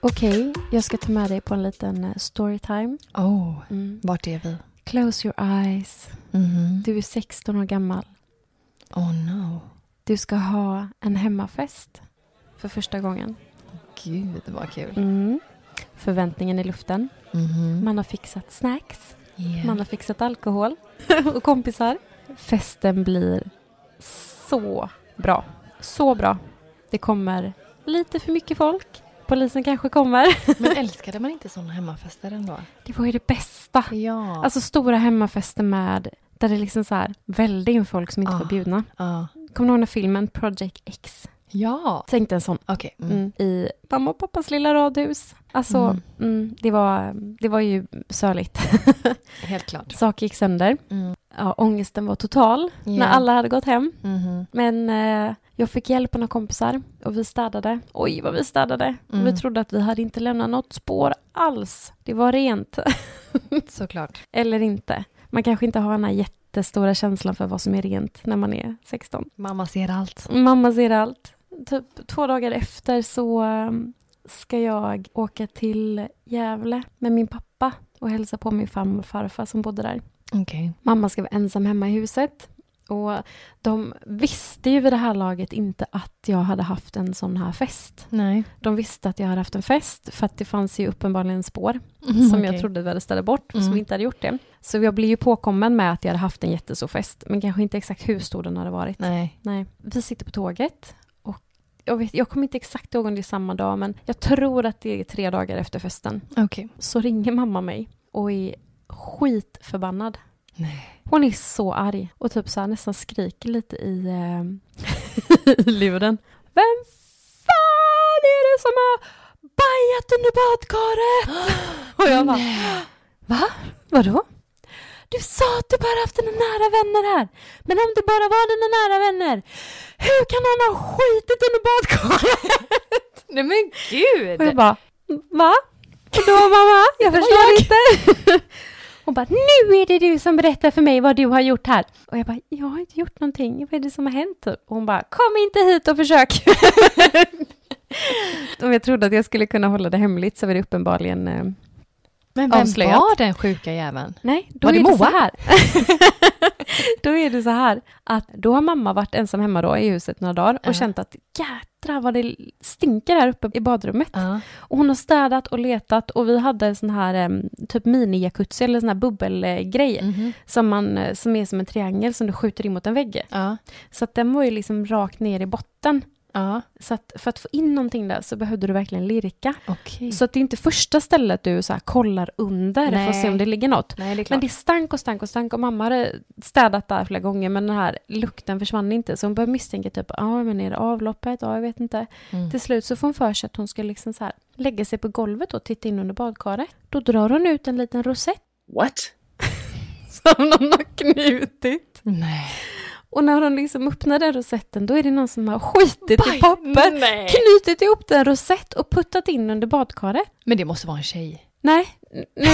A: Okej, jag ska ta med dig på en liten eh, storytime.
B: Oh,
A: Mm.
B: vart är vi?
A: Close your eyes.
B: Mhm.
A: Du är 16 år gammal.
B: Oh no.
A: Du ska ha en hemmafest för första gången.
B: Gud vad kul.
A: Mm. Förväntningen i luften.
B: Mhm.
A: Man har fixat snacks.
B: Yeah.
A: Man har fixat alkohol och kompisar. Festen blir så bra. Så bra. Det kommer lite för mycket folk. Polisen kanske kommer.
B: Men älskade man inte sådana hemmafester ändå?
A: Det var ju det bästa.
B: Ja.
A: Alltså stora hemmafester med där det liksom så här välde in folk som inte
B: Ah.
A: var bjudna.
B: ja.
A: Kommer du ihåg den här filmen Project X?
B: Ja.
A: Tänk dig en sån
B: Okej. mm.
A: mm. i mamma och pappas lilla radhus. Alltså,
B: Mm.
A: mm. det, var, det var ju sörligt.
B: Helt klart.
A: Saker gick sönder.
B: Mm.
A: Ja, ångesten var total
B: Ja.
A: när alla hade gått hem.
B: Mhm.
A: Men eh, jag fick hjälp av några kompisar och vi städade. Oj, vad vi städade.
B: Mm.
A: Vi trodde att vi hade inte lämnat något spår alls. Det var rent,
B: Såklart.
A: eller inte. Man kanske inte har den här jättestora känslan för vad som är rent när man är 16.
B: Mamma ser allt.
A: Mamma ser allt. Typ två dagar efter så um, ska jag åka till Gävle med min pappa och hälsa på min farmor och farfar som bodde där.
B: Okej.
A: Mamma ska vara ensam hemma i huset. Och de visste ju vid det här laget inte att jag hade haft en sån här fest.
B: Nej.
A: De visste att jag hade haft en fest för att det fanns ju uppenbarligen spår
B: Mm-hmm.
A: som jag trodde vi hade ställt bort,
B: Mm.
A: som inte hade gjort det. Så jag blev ju påkommen med att jag hade haft en jättestor fest, men kanske inte exakt hur stor den hade varit.
B: Nej.
A: Nej, vi sitter på tåget och jag, vet, jag kommer inte exakt ihåg om det är samma dag, men jag tror att det är tre dagar efter festen.
B: Okej.
A: Så ringer mamma mig och är skitförbannad.
B: Nej.
A: Hon är så arg och typ så här, nästan skriker lite i, eh, i luren. Vem fan är det som har bajat under badkaret? Och jag bara, va? Vadå? Du sa att du bara haft dina nära vänner här. Men om det bara var dina nära vänner, hur kan någon ha skitit under badkaret?
B: Nej men gud!
A: Och jag bara, va? Då mamma, jag förstår inte. Hon bara, nu är det du som berättar för mig vad du har gjort här. Och jag bara, jag har inte gjort någonting, vad är det som har hänt? typ? Och hon bara, kom inte hit och försök. Om jag trodde att jag skulle kunna hålla det hemligt så var det uppenbarligen... Eh,
B: Men vem
A: Avslöjat.
B: var den sjuka jäveln?
A: nej, då
B: Var det
A: är det så
B: Moa?
A: här. då är det så här att då har mamma varit ensam hemma då i huset några dagar och
B: Ja.
A: känt att jädrar vad det stinker här uppe i badrummet.
B: Ja.
A: Och hon har städat och letat och vi hade en sån här em, typ mini-jacuzzi eller sån här bubbelgrej
B: Mhm.
A: som, man, eh, som är som en triangel som du skjuter in mot en vägg.
B: Ja.
A: Så att den var ju liksom rakt ner i botten.
B: Ja.
A: Så att för att få in någonting där så behövde du verkligen lirka.
B: Okej.
A: Så att det är inte första stället du så här kollar under för att se om det ligger något.
B: Nej, det är klart.
A: Men det stank och stank och stank och mamma hade städat där flera gånger men den här lukten försvann inte så hon började misstänka typ, ja ah, men är det avloppet? Ja, jag vet inte.
B: Mm.
A: Till slut så får hon för sig att hon ska liksom så här lägga sig på golvet och titta in under badkaret. Då drar hon ut en liten rosett
D: What?
A: som någon har knutit.
B: Nej.
A: Och när hon liksom öppnar den rosetten då är det någon som har skitit i papper,
B: Nej.
A: knutit ihop den rosett och puttat in under badkaret.
B: Men det måste vara en tjej.
A: Nej, n- nu...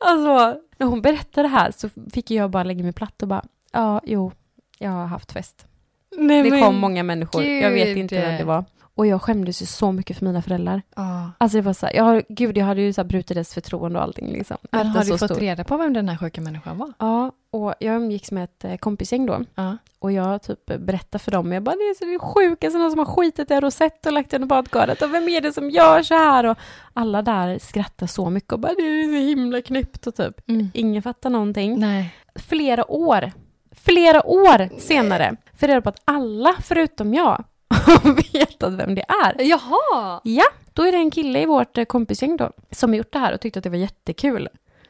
A: alltså, när hon berättade det här så fick jag bara lägga mig platt och bara, ja, jo, jag har haft fest.
B: Nej,
A: Det kom många människor, jag vet
B: gud.
A: inte vem det var. Och jag skämdes ju så mycket för mina föräldrar. Alltså det var så här, jag, gud, jag hade ju så här brutit deras förtroende och allting liksom.
B: Men
A: Efter
B: har
A: så
B: du fått
A: stor-
B: reda på vem den här sjuka människan var?
A: Ja, och jag umgicks med ett eh, kompisgäng då.
B: Ja.
A: Och jag typ berättade för dem, jag bara, det är så det är sjukaste, någon som har skitit i en rosett och lagt den i badkaret. Och vem är det som gör så här? Och alla där skrattar så mycket och bara, det är så himla knäppt och typ.
B: Mm.
A: Ingen fattar någonting.
B: Nej.
A: Flera år, flera år senare, får jag reda på att alla förutom jag har vetat vem det är.
B: Jaha!
A: Ja, då är det en kille i vårt eh, kompisgäng då, som har gjort det här och tyckte att det var jättekul.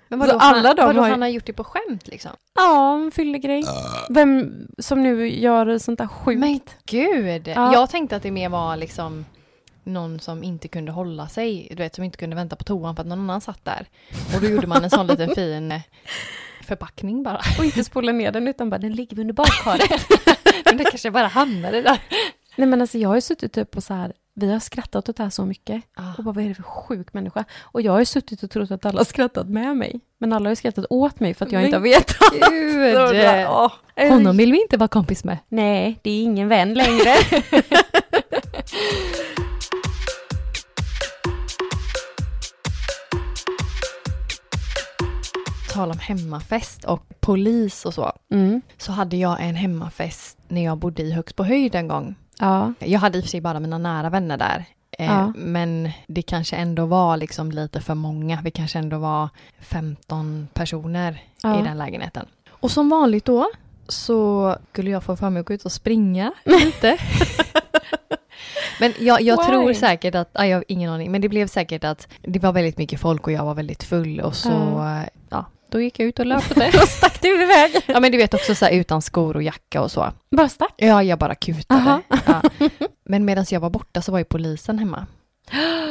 B: Men
A: Så alla de
B: vadå
A: har ju-
B: han har gjort det på skämt liksom?
A: Ja, en fyllegrej. Vem som nu gör sånt där sjukt.
B: Men gud!
A: Ja.
B: Jag tänkte att det mer var liksom någon som inte kunde hålla sig, du vet som inte kunde vänta på toan för att någon annan satt där. Och då gjorde man en sån liten fin eh, förpackning bara.
A: Och inte spola ner den utan bara, den ligger under badkaret.
B: Men det kanske bara hamnade där.
A: Nej men alltså jag har ju suttit typ och så här, vi har skrattat åt det här så mycket.
B: Ah,
A: Och bara, vad är det för sjuk människa? Och jag har ju suttit och trott att alla har skrattat med mig. Men alla har ju skrattat åt mig för att jag inte har vetat. Så jag bara,
B: Gud!
A: åh, är det-
B: Honom vill vi inte vara kompis med.
A: Nej, det är ingen vän längre.
B: tal om hemmafest och polis och så,
A: Mm.
B: så hade jag en hemmafest när jag bodde i Högsbohöjd en gång.
A: Ja,
B: Jag hade i och för sig bara mina nära vänner där. Eh,
A: Ja.
B: Men det kanske ändå var liksom lite för många. Vi kanske ändå var 15 personer
A: Ja.
B: i den lägenheten. Och som vanligt då så skulle jag få för mig att gå ut och springa lite. men jag,
A: Why?
B: jag tror säkert att, ja, jag har ingen aning, men det blev säkert att det var väldigt mycket folk och jag var väldigt full och så,
A: Ja.
B: eh, ja, då gick jag ut och löpte.
A: då stack du iväg.
B: Ja men du vet också så här utan skor och jacka och så.
A: Bara stack.
B: Ja, jag bara
A: Aha.
B: kutade. Ja. Men medan jag var borta så var ju polisen hemma.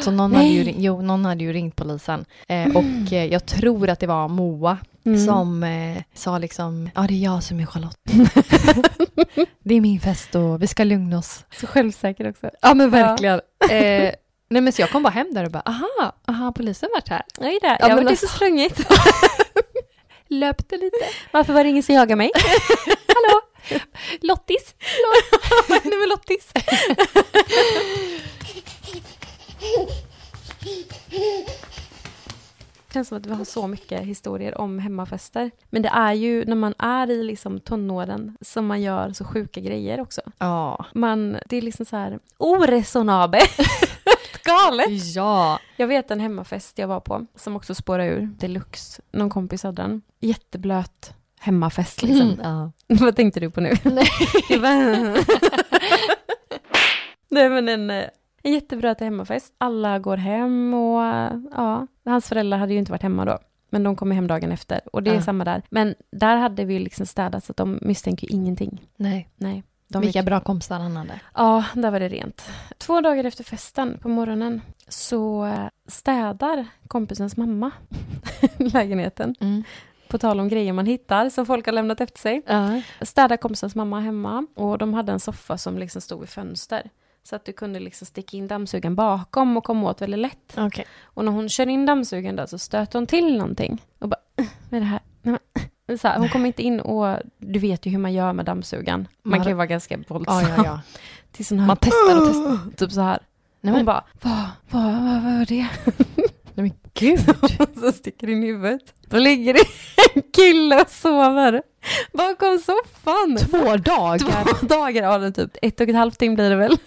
B: Så någon, hade ju,
A: Nej.
B: ring- jo, någon hade ju ringt polisen. Eh, och eh, jag tror att det var Moa
A: Mm.
B: som eh, sa liksom, ja det är jag som är Charlotte. det är min fest och vi ska lugna oss.
A: Så självsäker också.
B: Ja men Eh, nej men så jag kom bara hem där och bara, aha, aha polisen varit här.
A: Nej där,
B: Ja,
A: jag
B: men
A: var
B: alltså-
A: så sprungit.
B: Löpte lite.
A: Varför var det ingen som jagade mig?
B: Lottis.
A: Vad hände med Lottis? känns som att vi har så mycket historier om hemmafester. Men det är ju när man är i liksom tonåren som man gör så sjuka grejer också.
B: Ja.
A: Man, det är liksom så här oresonabelt. Galet!
B: Ja.
A: Jag vet en hemmafest jag var på som också spårade ur deluxe. Någon kompis hade den. Jätteblöt hemmafest liksom.
B: ja.
A: Vad tänkte du på nu? Nej. Nej men en, eh, en jättebra till hemmafest. Alla går hem och eh, ja, hans föräldrar hade ju inte varit hemma då. Men de kommer hem dagen efter och det är
B: Ja.
A: samma där. Men där hade vi liksom städat så att de misstänker ju ingenting.
B: Nej.
A: Nej. De
B: De Vilka
A: vet-
B: bra kompisar han hade.
A: Ja, där var det rent. Två dagar efter festen på morgonen så eh, städar kompisens mamma lägenheten.
B: Mm.
A: På tal om grejer man hittar som folk har lämnat efter sig
B: Ja.
A: städade kompisens mamma hemma och de hade en soffa som liksom stod i fönster. Så att du kunde liksom sticka in dammsugaren bakom och komma åt väldigt lätt.
B: Okej.
A: Och när hon kör in dammsugaren där så stöter hon till någonting. Och bara, "Äh, vad är det här? Nej, men, äh." Så här, hon kom inte in och du vet ju hur man gör med dammsugaren. Man
B: Man-
A: kan ju vara ganska
B: Ja,
A: våldsam.
B: ja, ja.
A: Tills hon hör,
B: Man testar och testar.
A: typ så här.
B: Nej,
A: Hon
B: men,
A: bara, vad, vad, vad, vad var det?
B: nej, men gud.
A: så sticker in huvudet. Då ligger det en kille och sover bakom soffan.
B: Två dagar.
A: Två dagar, ja det är typ ett och ett halvt dygn blir det väl.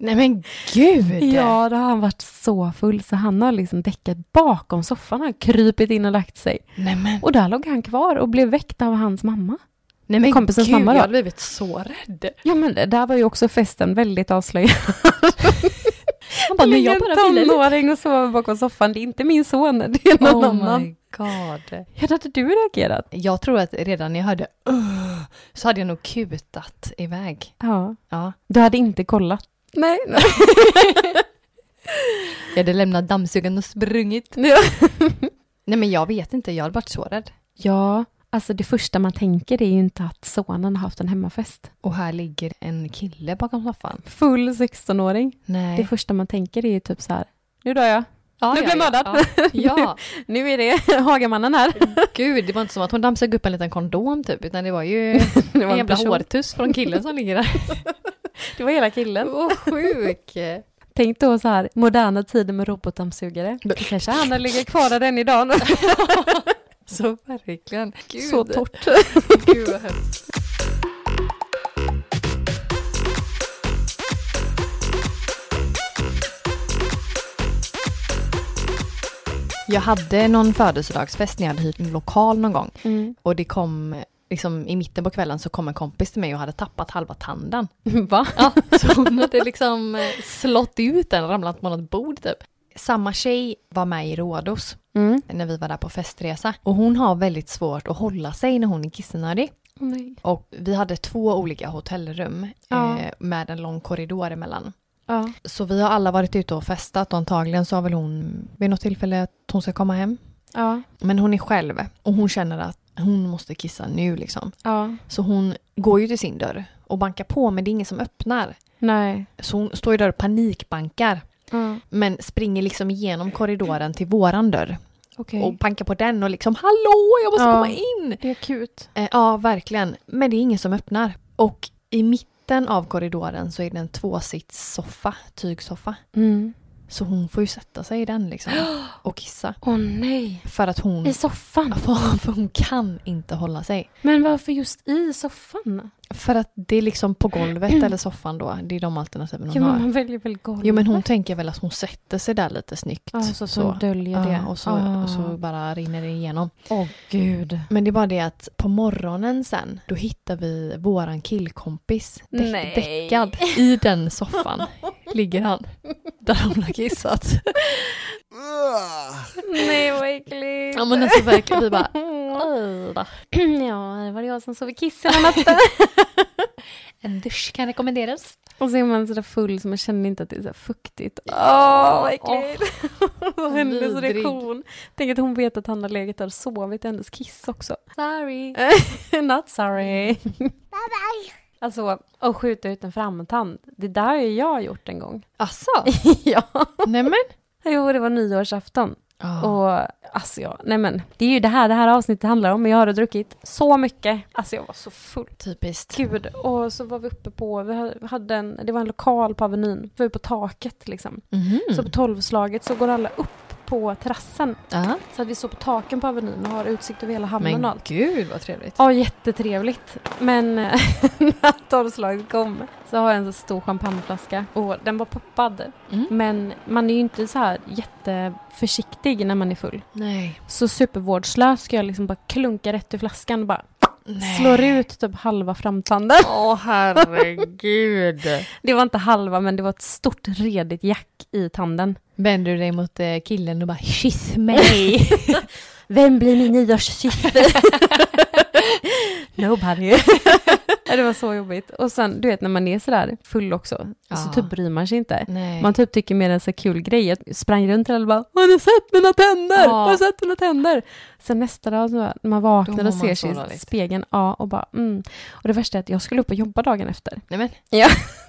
B: Nej men gud.
A: Ja, då har han varit så full så han har liksom däckat bakom soffan, han har krypit in och lagt sig.
B: Nej men.
A: Och där låg han kvar och blev väckt av hans mamma.
G: Nej
A: men kompisens
G: gud,
A: mamma då?
G: jag hade blivit så rädd.
A: Ja men det där var ju också festen väldigt avslöjande.
G: Han bara, men jag
A: Ligger
G: bara
A: en
G: ville lite.
A: tonåring och sover bakom soffan, det är inte min son, det är någon
B: Oh
A: annan.
B: my god.
A: Hur hade du reagerat?
B: Jag tror att redan när jag hörde "Ugh", så hade jag nog kutat iväg.
A: Ja.
B: Ja.
A: Du hade inte kollat? Nej. nej.
B: Jag hade lämnat dammsugaren och sprungit.
A: Ja.
B: Nej men jag vet inte, jag hade varit så rädd.
A: ja, alltså det första man tänker är ju inte att sonen har haft en hemmafest.
B: Och här ligger en kille bakom soffan.
A: Full 16-åring.
B: Nej.
A: Det första man tänker är ju typ så här, nu dör jag,
B: Ja,
A: nu
B: ja,
A: blir jag
B: ja,
A: mördad.
B: Ja, ja.
A: nu är det Hagamannen här.
B: gud, det var inte som att hon dammsög upp en liten kondom typ, utan det var ju
A: Det
B: en jävla
A: person.
B: hårtuss från killen som ligger där.
A: Det var hela killen.
B: Vad sjuk!
A: Tänk då så här, moderna tider med robotdammsugare. Kanske han ligger kvar där än idag.
B: Så verkligen. Gud.
A: Så torrt.
B: Gud vad hemskt. Jag hade någon födelsedagsfest när jag hade hyrt en lokal någon gång
A: Mm.
B: och det kom liksom i mitten på kvällen så kom en kompis till mig och hade tappat halva tanden.
A: Va?
B: Ja, så hon hade liksom eh, slått ut den, ramlat på något bord typ. Samma tjej var med i Rhodos
A: Mm.
B: när vi var där på festresa och hon har väldigt svårt att hålla sig när hon är kissnödig.
A: Nej.
B: Och vi hade två olika hotellrum
A: Ja.
B: eh, med en lång korridor emellan.
A: Ja.
B: Så vi har alla varit ute och festat och antagligen sa väl hon vid något tillfälle att hon ska komma hem.
A: Ja.
B: Men hon är själv och hon känner att hon måste kissa nu liksom.
A: Ja.
B: Så hon går ju till sin dörr och bankar på men det är ingen som öppnar.
A: Nej.
B: Så hon står ju där och panikbankar
A: Ja.
B: men springer liksom igenom korridoren till våran dörr
A: Okej.
B: och bankar på den och liksom hallå jag måste
A: Mm. Ja.
B: komma in.
A: Det är akut.
B: Eh, ja, verkligen. Men det är ingen som öppnar. Och i mitten av korridoren så är det en tvåsitssoffa, tygsoffa.
A: Mm.
B: Så hon får ju sätta sig i den liksom och kissa.
A: Åh nej.
B: För att hon,
A: I soffan?
B: för hon kan inte hålla sig.
A: Men varför just i soffan?
B: För att det är liksom på golvet eller soffan då, det är de alternativen hon
A: Jo, Mm. men
B: har.
A: man väljer väl golvet?
B: Jo men hon tänker väl att hon sätter sig där lite snyggt.
A: Ja, så, så hon döljer det.
B: Ja, och så,
A: Ah.
B: och så bara rinner det igenom.
A: Åh gud.
B: Men det var det att på morgonen sen, då hittar vi våran killkompis dä-
A: Nej.
B: däckad i den soffan. Ligger han. Där hon har kissat.
A: Nej, vad äckligt.
B: Ja men alltså verkligen, vi bara "Oj då."
A: ja, det var det jag som sov i kissen i natten.
B: En dusch kan rekommenderas.
A: och så är man sådär full så man känner inte att det är så här fuktigt. Åh, vad äckligt. Och hennes
B: Vidrig.
A: reaktion. Tänk att hon vet att han har legat där och sovit i hennes kiss också.
B: Sorry.
A: Not sorry. Bye bye. Alltså, att skjuta ut en framtand. Det där har ju jag gjort en gång.
B: Asså?
A: ja.
B: Nej men.
A: Jo, det var nyårsafton.
B: Ja.
A: Och alltså, jag, nej men, det är ju det här det här avsnittet handlar om. Men jag har druckit så mycket. Alltså jag var så full.
B: Typiskt.
A: Gud, och så var vi uppe på, vi ha- hade en, det var en lokal på Avenyn. Vi var på taket liksom.
B: Mhm.
A: Så på tolvslaget så går alla upp på terrassen.
B: Ja.
A: Så att vi står på taken på Avenyn och har utsikt över hela hamnen och
B: Men
A: allt.
B: gud vad trevligt.
A: Ja, jättetrevligt. Men eh, när tolvslaget kom så har jag en så stor champagneflaska och den var poppad.
B: Mm.
A: Men man är ju inte så här jätteförsiktig när man är full.
B: Nej.
A: Så supervårdslös ska jag liksom bara klunka rätt ur flaskan och bara
B: Nej.
A: slår ut typ halva framtanden.
B: Åh herregud.
A: Det var inte halva men det var ett stort redigt jack i tanden.
B: Vänder du dig mot eh, killen och bara kyss mig.
A: Vem blir min nyårssyster? Nobody. Ja, det var så jobbigt. Och sen, du vet när man är sådär full också, så
B: Ja.
A: typ bryr man sig inte.
B: Nej.
A: Man typ tycker mer en så kul grej. Jag sprang runt till alla och bara ”Har ni sett mina tänder?
B: Ja.
A: Har ni sett mina tänder?” Sen nästa dag så när man
B: Då
A: vaknar
B: mår
A: och ser sig
B: man så
A: i
B: dåligt.
A: spegeln ja, och bara mm. Och det värsta är att jag skulle upp och jobba dagen efter.
B: Nej men.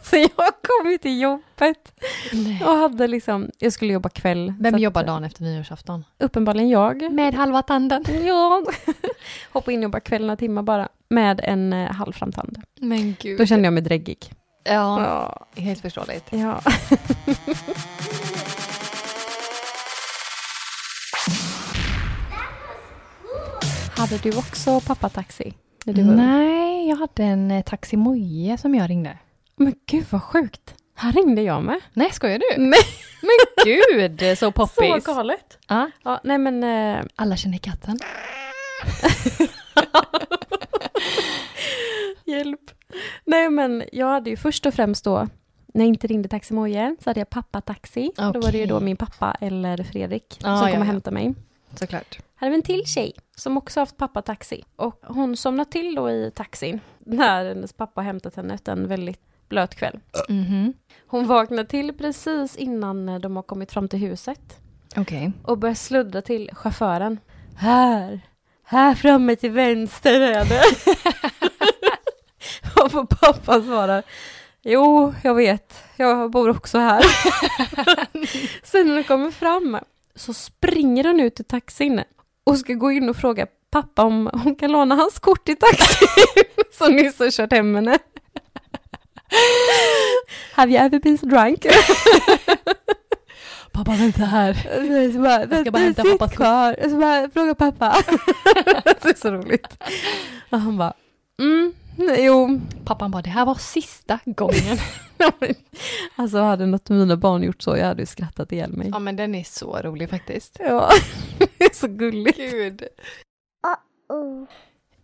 A: Så jag kom ju till jobbet
B: Nej.
A: och hade liksom, jag skulle jobba kväll.
B: Vem
A: så att-
B: jobbar dagen efter nyårsafton?
A: Uppenbarligen jag.
B: Med halva tanden.
A: Ja. Hoppa in och jobba kväll några timmar bara. Med en eh, halv framtand.
B: Men gud.
A: Då kände jag mig dräggig.
B: Ja,
A: Ja.
B: helt förståeligt.
A: ja. Hade du också pappataxi? När du var ung?
B: Nej, jag hade en eh, taximoje som jag ringde.
A: Men gud vad sjukt. Här ringde jag med.
B: Nej, skojar du?
A: Nej.
B: Men gud, så poppis.
A: galet.
B: Ja.
A: Ja, nej men eh,
B: Alla känner katten.
A: Hjälp. Nej men jag hade ju först och främst då, när jag inte ringde Taxi Moje, så hade jag pappataxi. Då var det ju då
B: Okej.
A: min pappa eller Fredrik
B: Ah,
A: som kom
B: ja,
A: och
B: ja.
A: hämtade mig.
B: Såklart.
A: Hade vi en till tjej som också haft pappataxi. Och hon somnade till då i taxin när hennes pappa hämtat henne efter en väldigt blöt kväll.
B: Mhm.
A: Hon vaknade till precis innan de har kommit fram till huset
B: Okej.
A: och börjar sluddra till chauffören. Här, här framme till vänster är det. och pappa svarar. Jo, jag vet, jag bor också här. Sen när de kommer fram så springer hon ut ur taxin och ska gå in och fråga pappa om hon kan låna hans kort i taxin som nyss har kört hem henne. Have you ever been so drunk?
B: Pappa vänta här.
A: Nej, Så bara, jag
B: ska bara hämta pappas kort."
A: kvar. Och Så bara, fråga pappa. det är så roligt. Och han bara, mm, nej, jo.
B: Pappan bara, det här var sista gången.
A: Alltså hade något av mina barn gjort så, jag hade ju skrattat ihjäl mig.
B: ja men den är så rolig faktiskt.
A: Ja, det är så gulligt.
B: Gud.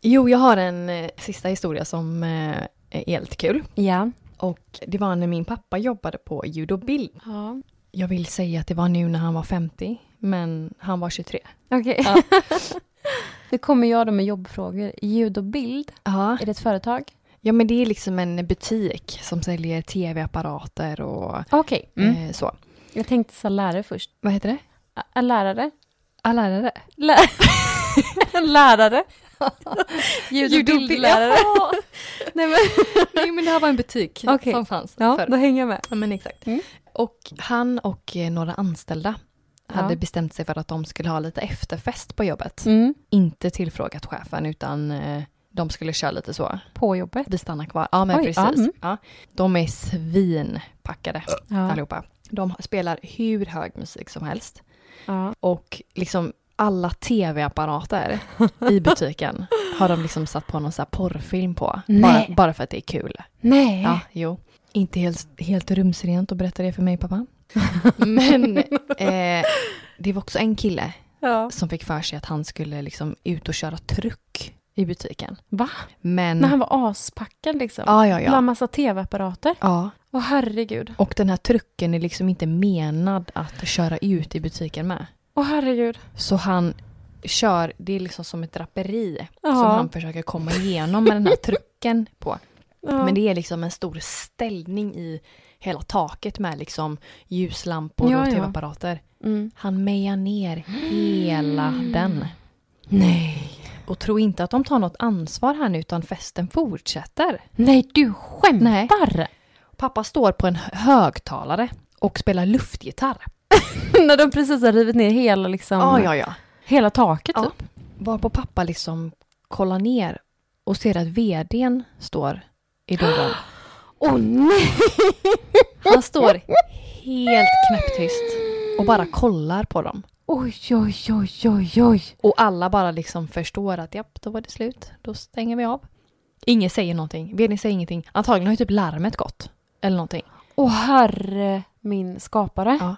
B: Jo, jag har en eh, sista historia som eh, är helt kul.
A: Ja.
B: Och det var när min pappa jobbade på Judobild.
A: ja.
B: Jag vill säga att det var nu när han var 50, men han var 23.
A: Okej. nu kommer jag då med jobbfrågor. Ljud och bild,
B: Ja.
A: är det ett företag?
B: ja, men det är liksom en butik som säljer tv-apparater och
A: Okej. Mm.
B: eh, så.
A: Jag tänkte så lärare först.
B: Vad heter det?
A: Ä- ä, lärare?
B: Ah, lärare.
A: Lä lärare? Ljud och bildlärare? Nej, men...
B: Nej, men det här var en butik
A: Okej.
B: som fanns
A: Ja,
B: förr.
A: då hänger jag med.
B: Ja, men exakt.
A: Mm.
B: Och han och eh, några anställda hade
A: Ja.
B: bestämt sig för att de skulle ha lite efterfest på jobbet.
A: Mm.
B: Inte tillfrågat chefen utan eh, de skulle köra lite så.
A: På jobbet.
B: Vi stannar kvar. Ja men
A: Oj,
B: precis.
A: ja,
B: Ja,
A: mm.
B: De är svinpackade
A: Ja.
B: allihopa. De spelar hur hög musik som helst.
A: Ja.
B: Och liksom alla tv-apparater i butiken har de liksom satt på någon så här porrfilm på. Bara,
A: Nej.
B: bara för att det är kul.
A: Nej.
B: Ja, jo. Inte helt, helt rumsrent att berätta det för mig pappa. Men eh, det var också en kille
A: Ja.
B: som fick för sig att han skulle liksom ut och köra truck i butiken.
A: Va?
B: Men...
A: När han var aspackad liksom.
B: ja, ja,
A: Bland
B: ja.
A: massa tv-apparater.
B: ja.
A: Åh herregud.
B: Och den här trucken är liksom inte menad att köra ut i butiken med.
A: Åh herregud.
B: Så han kör, det är liksom som ett draperi
A: Ja.
B: som han försöker komma igenom med den här trucken på.
A: Ja.
B: Men det är liksom en stor ställning i hela taket med liksom ljuslampor
A: Ja,
B: och
A: ja.
B: tv-apparater.
A: Mm.
B: Han mejar ner hela den.
A: Nej.
B: Och tro inte att de tar något ansvar här nu utan festen fortsätter.
A: Nej, du skämtar!
B: Pappa står på en högtalare och spelar luftgitarr.
A: När de precis har rivit ner hela, liksom,
B: ja.
A: hela taket
B: Ja.
A: typ.
B: Varpå pappa liksom kollar ner och ser att vdn står i dörren.
A: Åh nej!
B: Han står helt knäpptyst och bara kollar på dem.
A: Oj, oj, oj, oj, oj.
B: Och alla bara liksom förstår att japp, då var det slut. Då stänger vi av. Ingen säger någonting. Vdn säger ingenting. Antagligen har ju typ larmet gått. Eller någonting.
A: Åh herre min skapare.
B: Ja.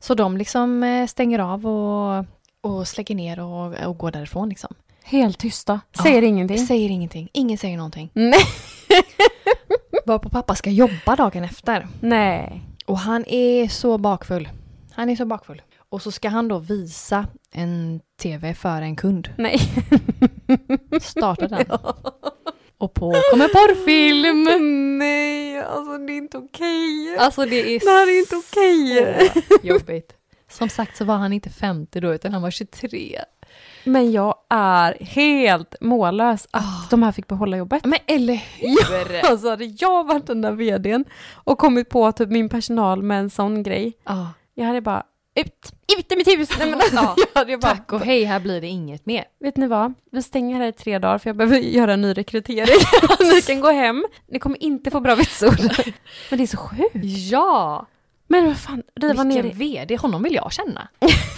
B: Så de liksom eh, stänger av och, och släcker ner och, och går därifrån liksom.
A: Helt tysta. Säger ingenting.
B: Säger ingenting. Ingen säger någonting.
A: Nej.
B: Varpå pappa ska jobba dagen efter.
A: Nej.
B: Och han är så bakfull. Han är så bakfull. Och så ska han då visa en tv för en kund.
A: Nej.
B: Starta den. Och på kommer porrfilm!
A: nej, alltså det är inte okej.
B: Alltså det är
A: Det här är inte okej.
B: så jobbigt. Som sagt så var han inte 50 då utan han var 23.
A: Men jag är helt mållös att de här fick behålla jobbet.
B: Men eller hur!
A: Alltså hade jag varit den där vdn och kommit på typ min personal med en sån grej,
B: Ja.
A: jag hade bara ut, ut med mitt hus! Nej, men, alltså.
B: Ja,
A: jag hade bara,
B: Tack och hej, här blir det inget mer.
A: Vet ni vad, vi stänger här i tre dagar för jag behöver göra en ny rekrytering. ni kan gå hem, ni kommer inte få bra vitsord. men det är så sjukt.
B: Ja!
A: Men vad fan, riva ner
B: Vilken
A: det.
B: vd, honom vill jag känna.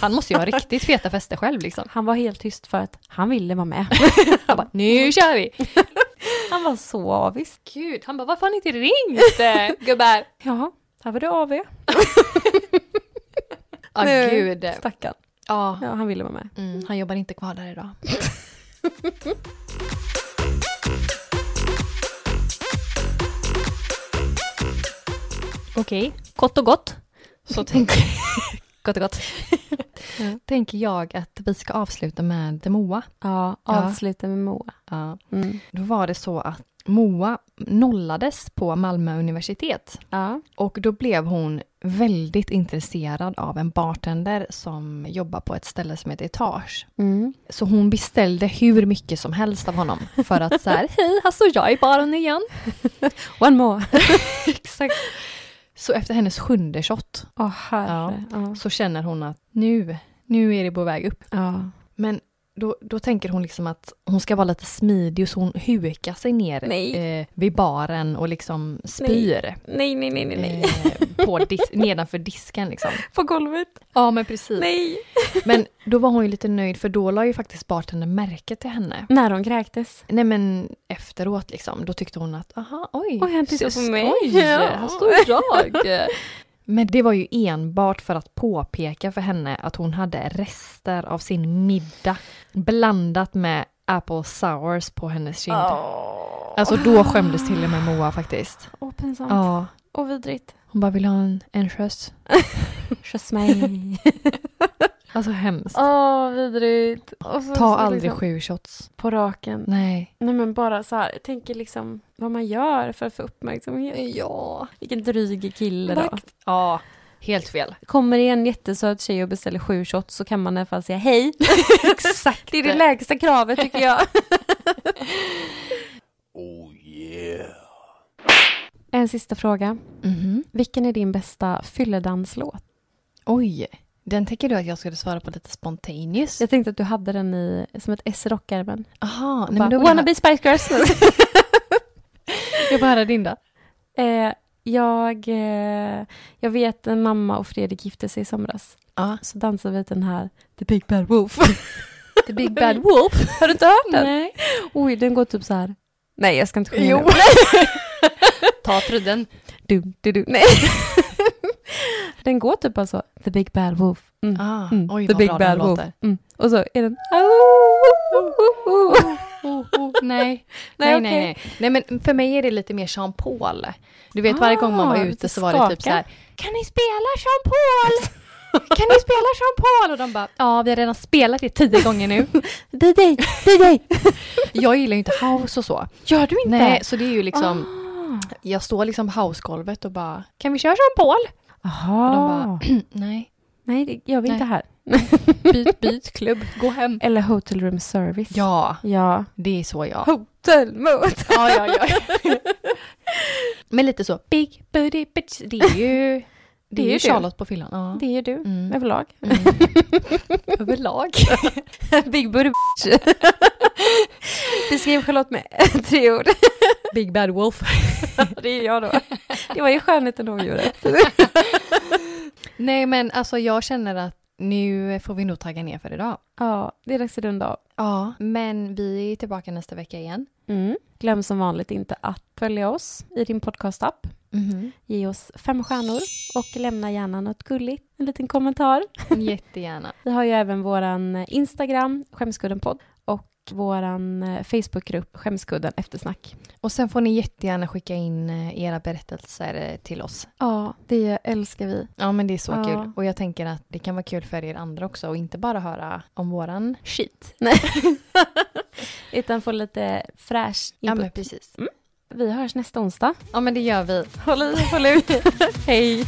B: Han måste ju ha riktigt feta fester själv liksom.
A: Han var helt tyst för att han ville vara med.
B: Han bara, nu kör vi!
A: Han var så avis.
B: Gud, han bara, varför har ni inte ringt gubbar?
A: Ja, här var det AV.
H: Ah,
B: Ja,
A: Nej.
B: gud.
A: Stackarn.
B: Ja,
A: Ja, han ville vara med.
B: mm, han jobbar inte kvar där idag.
H: Okej. Kort och gott.
B: Så tänker,
H: Kort och gott.
B: tänker jag att vi ska avsluta med Moa.
A: Ja, avsluta med Moa.
B: Ja.
A: Mm.
B: Då var det så att Moa nollades på Malmö universitet
A: Ja.
B: och då blev hon väldigt intresserad av en bartender som jobbar på ett ställe som heter Etage.
A: Mm.
B: Så hon beställde hur mycket som helst av honom för att så här, hej, här står jag i baren igen.
A: One more.
B: Exakt. Så efter hennes sjunde shot
A: Åh, herre. Ja.
B: så känner hon att nu, nu är det på väg upp.
A: Ja.
B: Men då, då tänker hon liksom att hon ska vara lite smidig så hon hukar sig ner
A: Nej.
B: eh, vid baren och liksom spyr
A: Nej, nej, nej, nej, nej.
B: eh, på dis- nedanför disken. Liksom.
A: På golvet.
B: Ja men precis.
A: Nej.
B: Men då var hon ju lite nöjd för då la ju faktiskt bartendern märke till henne.
A: När hon kräktes.
B: Nej men efteråt liksom, då tyckte hon att aha oj.
A: Oj, han tittar på
B: så-
A: mig.
B: Oj, här står jag. men det var ju enbart för att påpeka för henne att hon hade rester av sin middag blandat med apple sours på hennes kind. Alltså då skämdes till och med Moa faktiskt.
A: Åh, pinsamt.
B: Ja.
A: Och vidrigt.
B: Hon bara vill ha en, en skjuts.
A: Kyss mig.
B: Alltså hemskt.
A: Åh, vidrigt. Och så-
B: Ta
A: så
B: aldrig
A: liksom
B: sju shots.
A: På raken.
B: Nej.
A: Nej, men bara så här. Jag tänker liksom vad man gör för att få uppmärksamhet.
B: Ja.
A: Vilken dryg kille då.
B: Ja. Helt fel.
A: Kommer det en jättesöt tjej och beställer sju shots så kan man i alla fall säga hej. Exakt. Det är det lägsta kravet tycker jag.
F: Oh yeah.
A: En sista fråga.
B: Mhm.
A: Vilken är din bästa fylledanslåt?
B: Oj, den tänker du att jag skulle svara på lite spontaneous?
A: Jag tänkte att du hade den i, som ett S i rockärmen.
B: Jaha,
A: Bara, Wanna be Spice Girls.
B: jag bara höra din då.
A: eh, jag, eh, jag vet en mamma och Fredrik gifte sig i somras.
B: Ja.
A: Så dansade vi den här The Big Bad Wolf.
B: The Big Bad Wolf.
A: Har du inte hört den?
B: Nej.
A: Oj, den går typ så här. Nej, jag ska inte sjunga
B: Jo.
A: nu.
B: Ta trudden.
A: Mm. Dum, du, du. Nej. den går typ alltså The Big Bad Wolf. Mm.
B: Ah,
A: Mm.
B: Oj,
A: The
B: vad
A: Big
B: bra
A: Bad
B: den
A: Wolf.
B: låter. Ah,
A: Mm. Och så är den...
B: Oh, oh, nej.
A: Nej,
B: nej, nej, nej, nej. men för mig är det lite mer Jean Paul. Du vet
A: Ah,
B: varje gång man var ute
A: lite
B: så var det typ
A: skaka.
B: så här. Kan ni spela Jean Paul? kan ni spela Jean Paul? Och de bara, ja vi har redan spelat det tio gånger nu.
A: DJ, DJ!
B: jag gillar ju inte house och så.
A: Gör du inte? Ah.
B: Nej, så det är ju liksom, jag står liksom på housegolvet och bara, kan vi köra Jean Paul?
A: Aha.
B: Och de
A: Ah.
B: bara, "Mm, nej,
A: Nej, det gör vi inte här.
B: Nej. byt, byt klubb, gå hem.
A: Eller Hotel Room Service.
B: Ja,
A: Ja.
B: det är så jag.
A: Hotel mot.
B: Ja, ja, ja. Men lite så, big booty bitch, det är ju, det är ju
A: du.
B: Charlotte på fyllan. Ja.
A: Det är ju du,
B: Mm.
A: överlag.
B: Överlag.
A: Big booty bitch. Beskriv Charlotte med tre ord.
B: Big bad wolf.
A: Det är jag då. Det var ju skönheten och odjuret.
B: Nej, men alltså jag känner att nu får vi nog tagga ner för idag.
A: Ja, det är dags för runda av.
B: Ja, men vi är tillbaka nästa vecka igen.
A: Mm. Glöm som vanligt inte att följa oss i din podcastapp.
B: Mm-hmm.
A: Ge oss fem stjärnor och lämna gärna något gulligt. En liten kommentar.
B: Jättegärna.
A: Vi har ju även våran Instagram, Skämskudden-podd och våran eh, Facebookgrupp Skämskudden eftersnack.
B: Och sen får ni jättegärna skicka in eh, era berättelser eh, till oss.
A: Ja, det älskar vi.
B: Ja, men det är så
A: Ja.
B: kul. Och jag tänker att det kan vara kul för er andra också och inte bara höra om våran shit.
A: Utan få lite fräsch
B: Ja,
A: input.
B: men precis.
A: Vi hörs nästa onsdag.
B: Ja, men det gör vi.
A: Håll i, håll ut. Hej!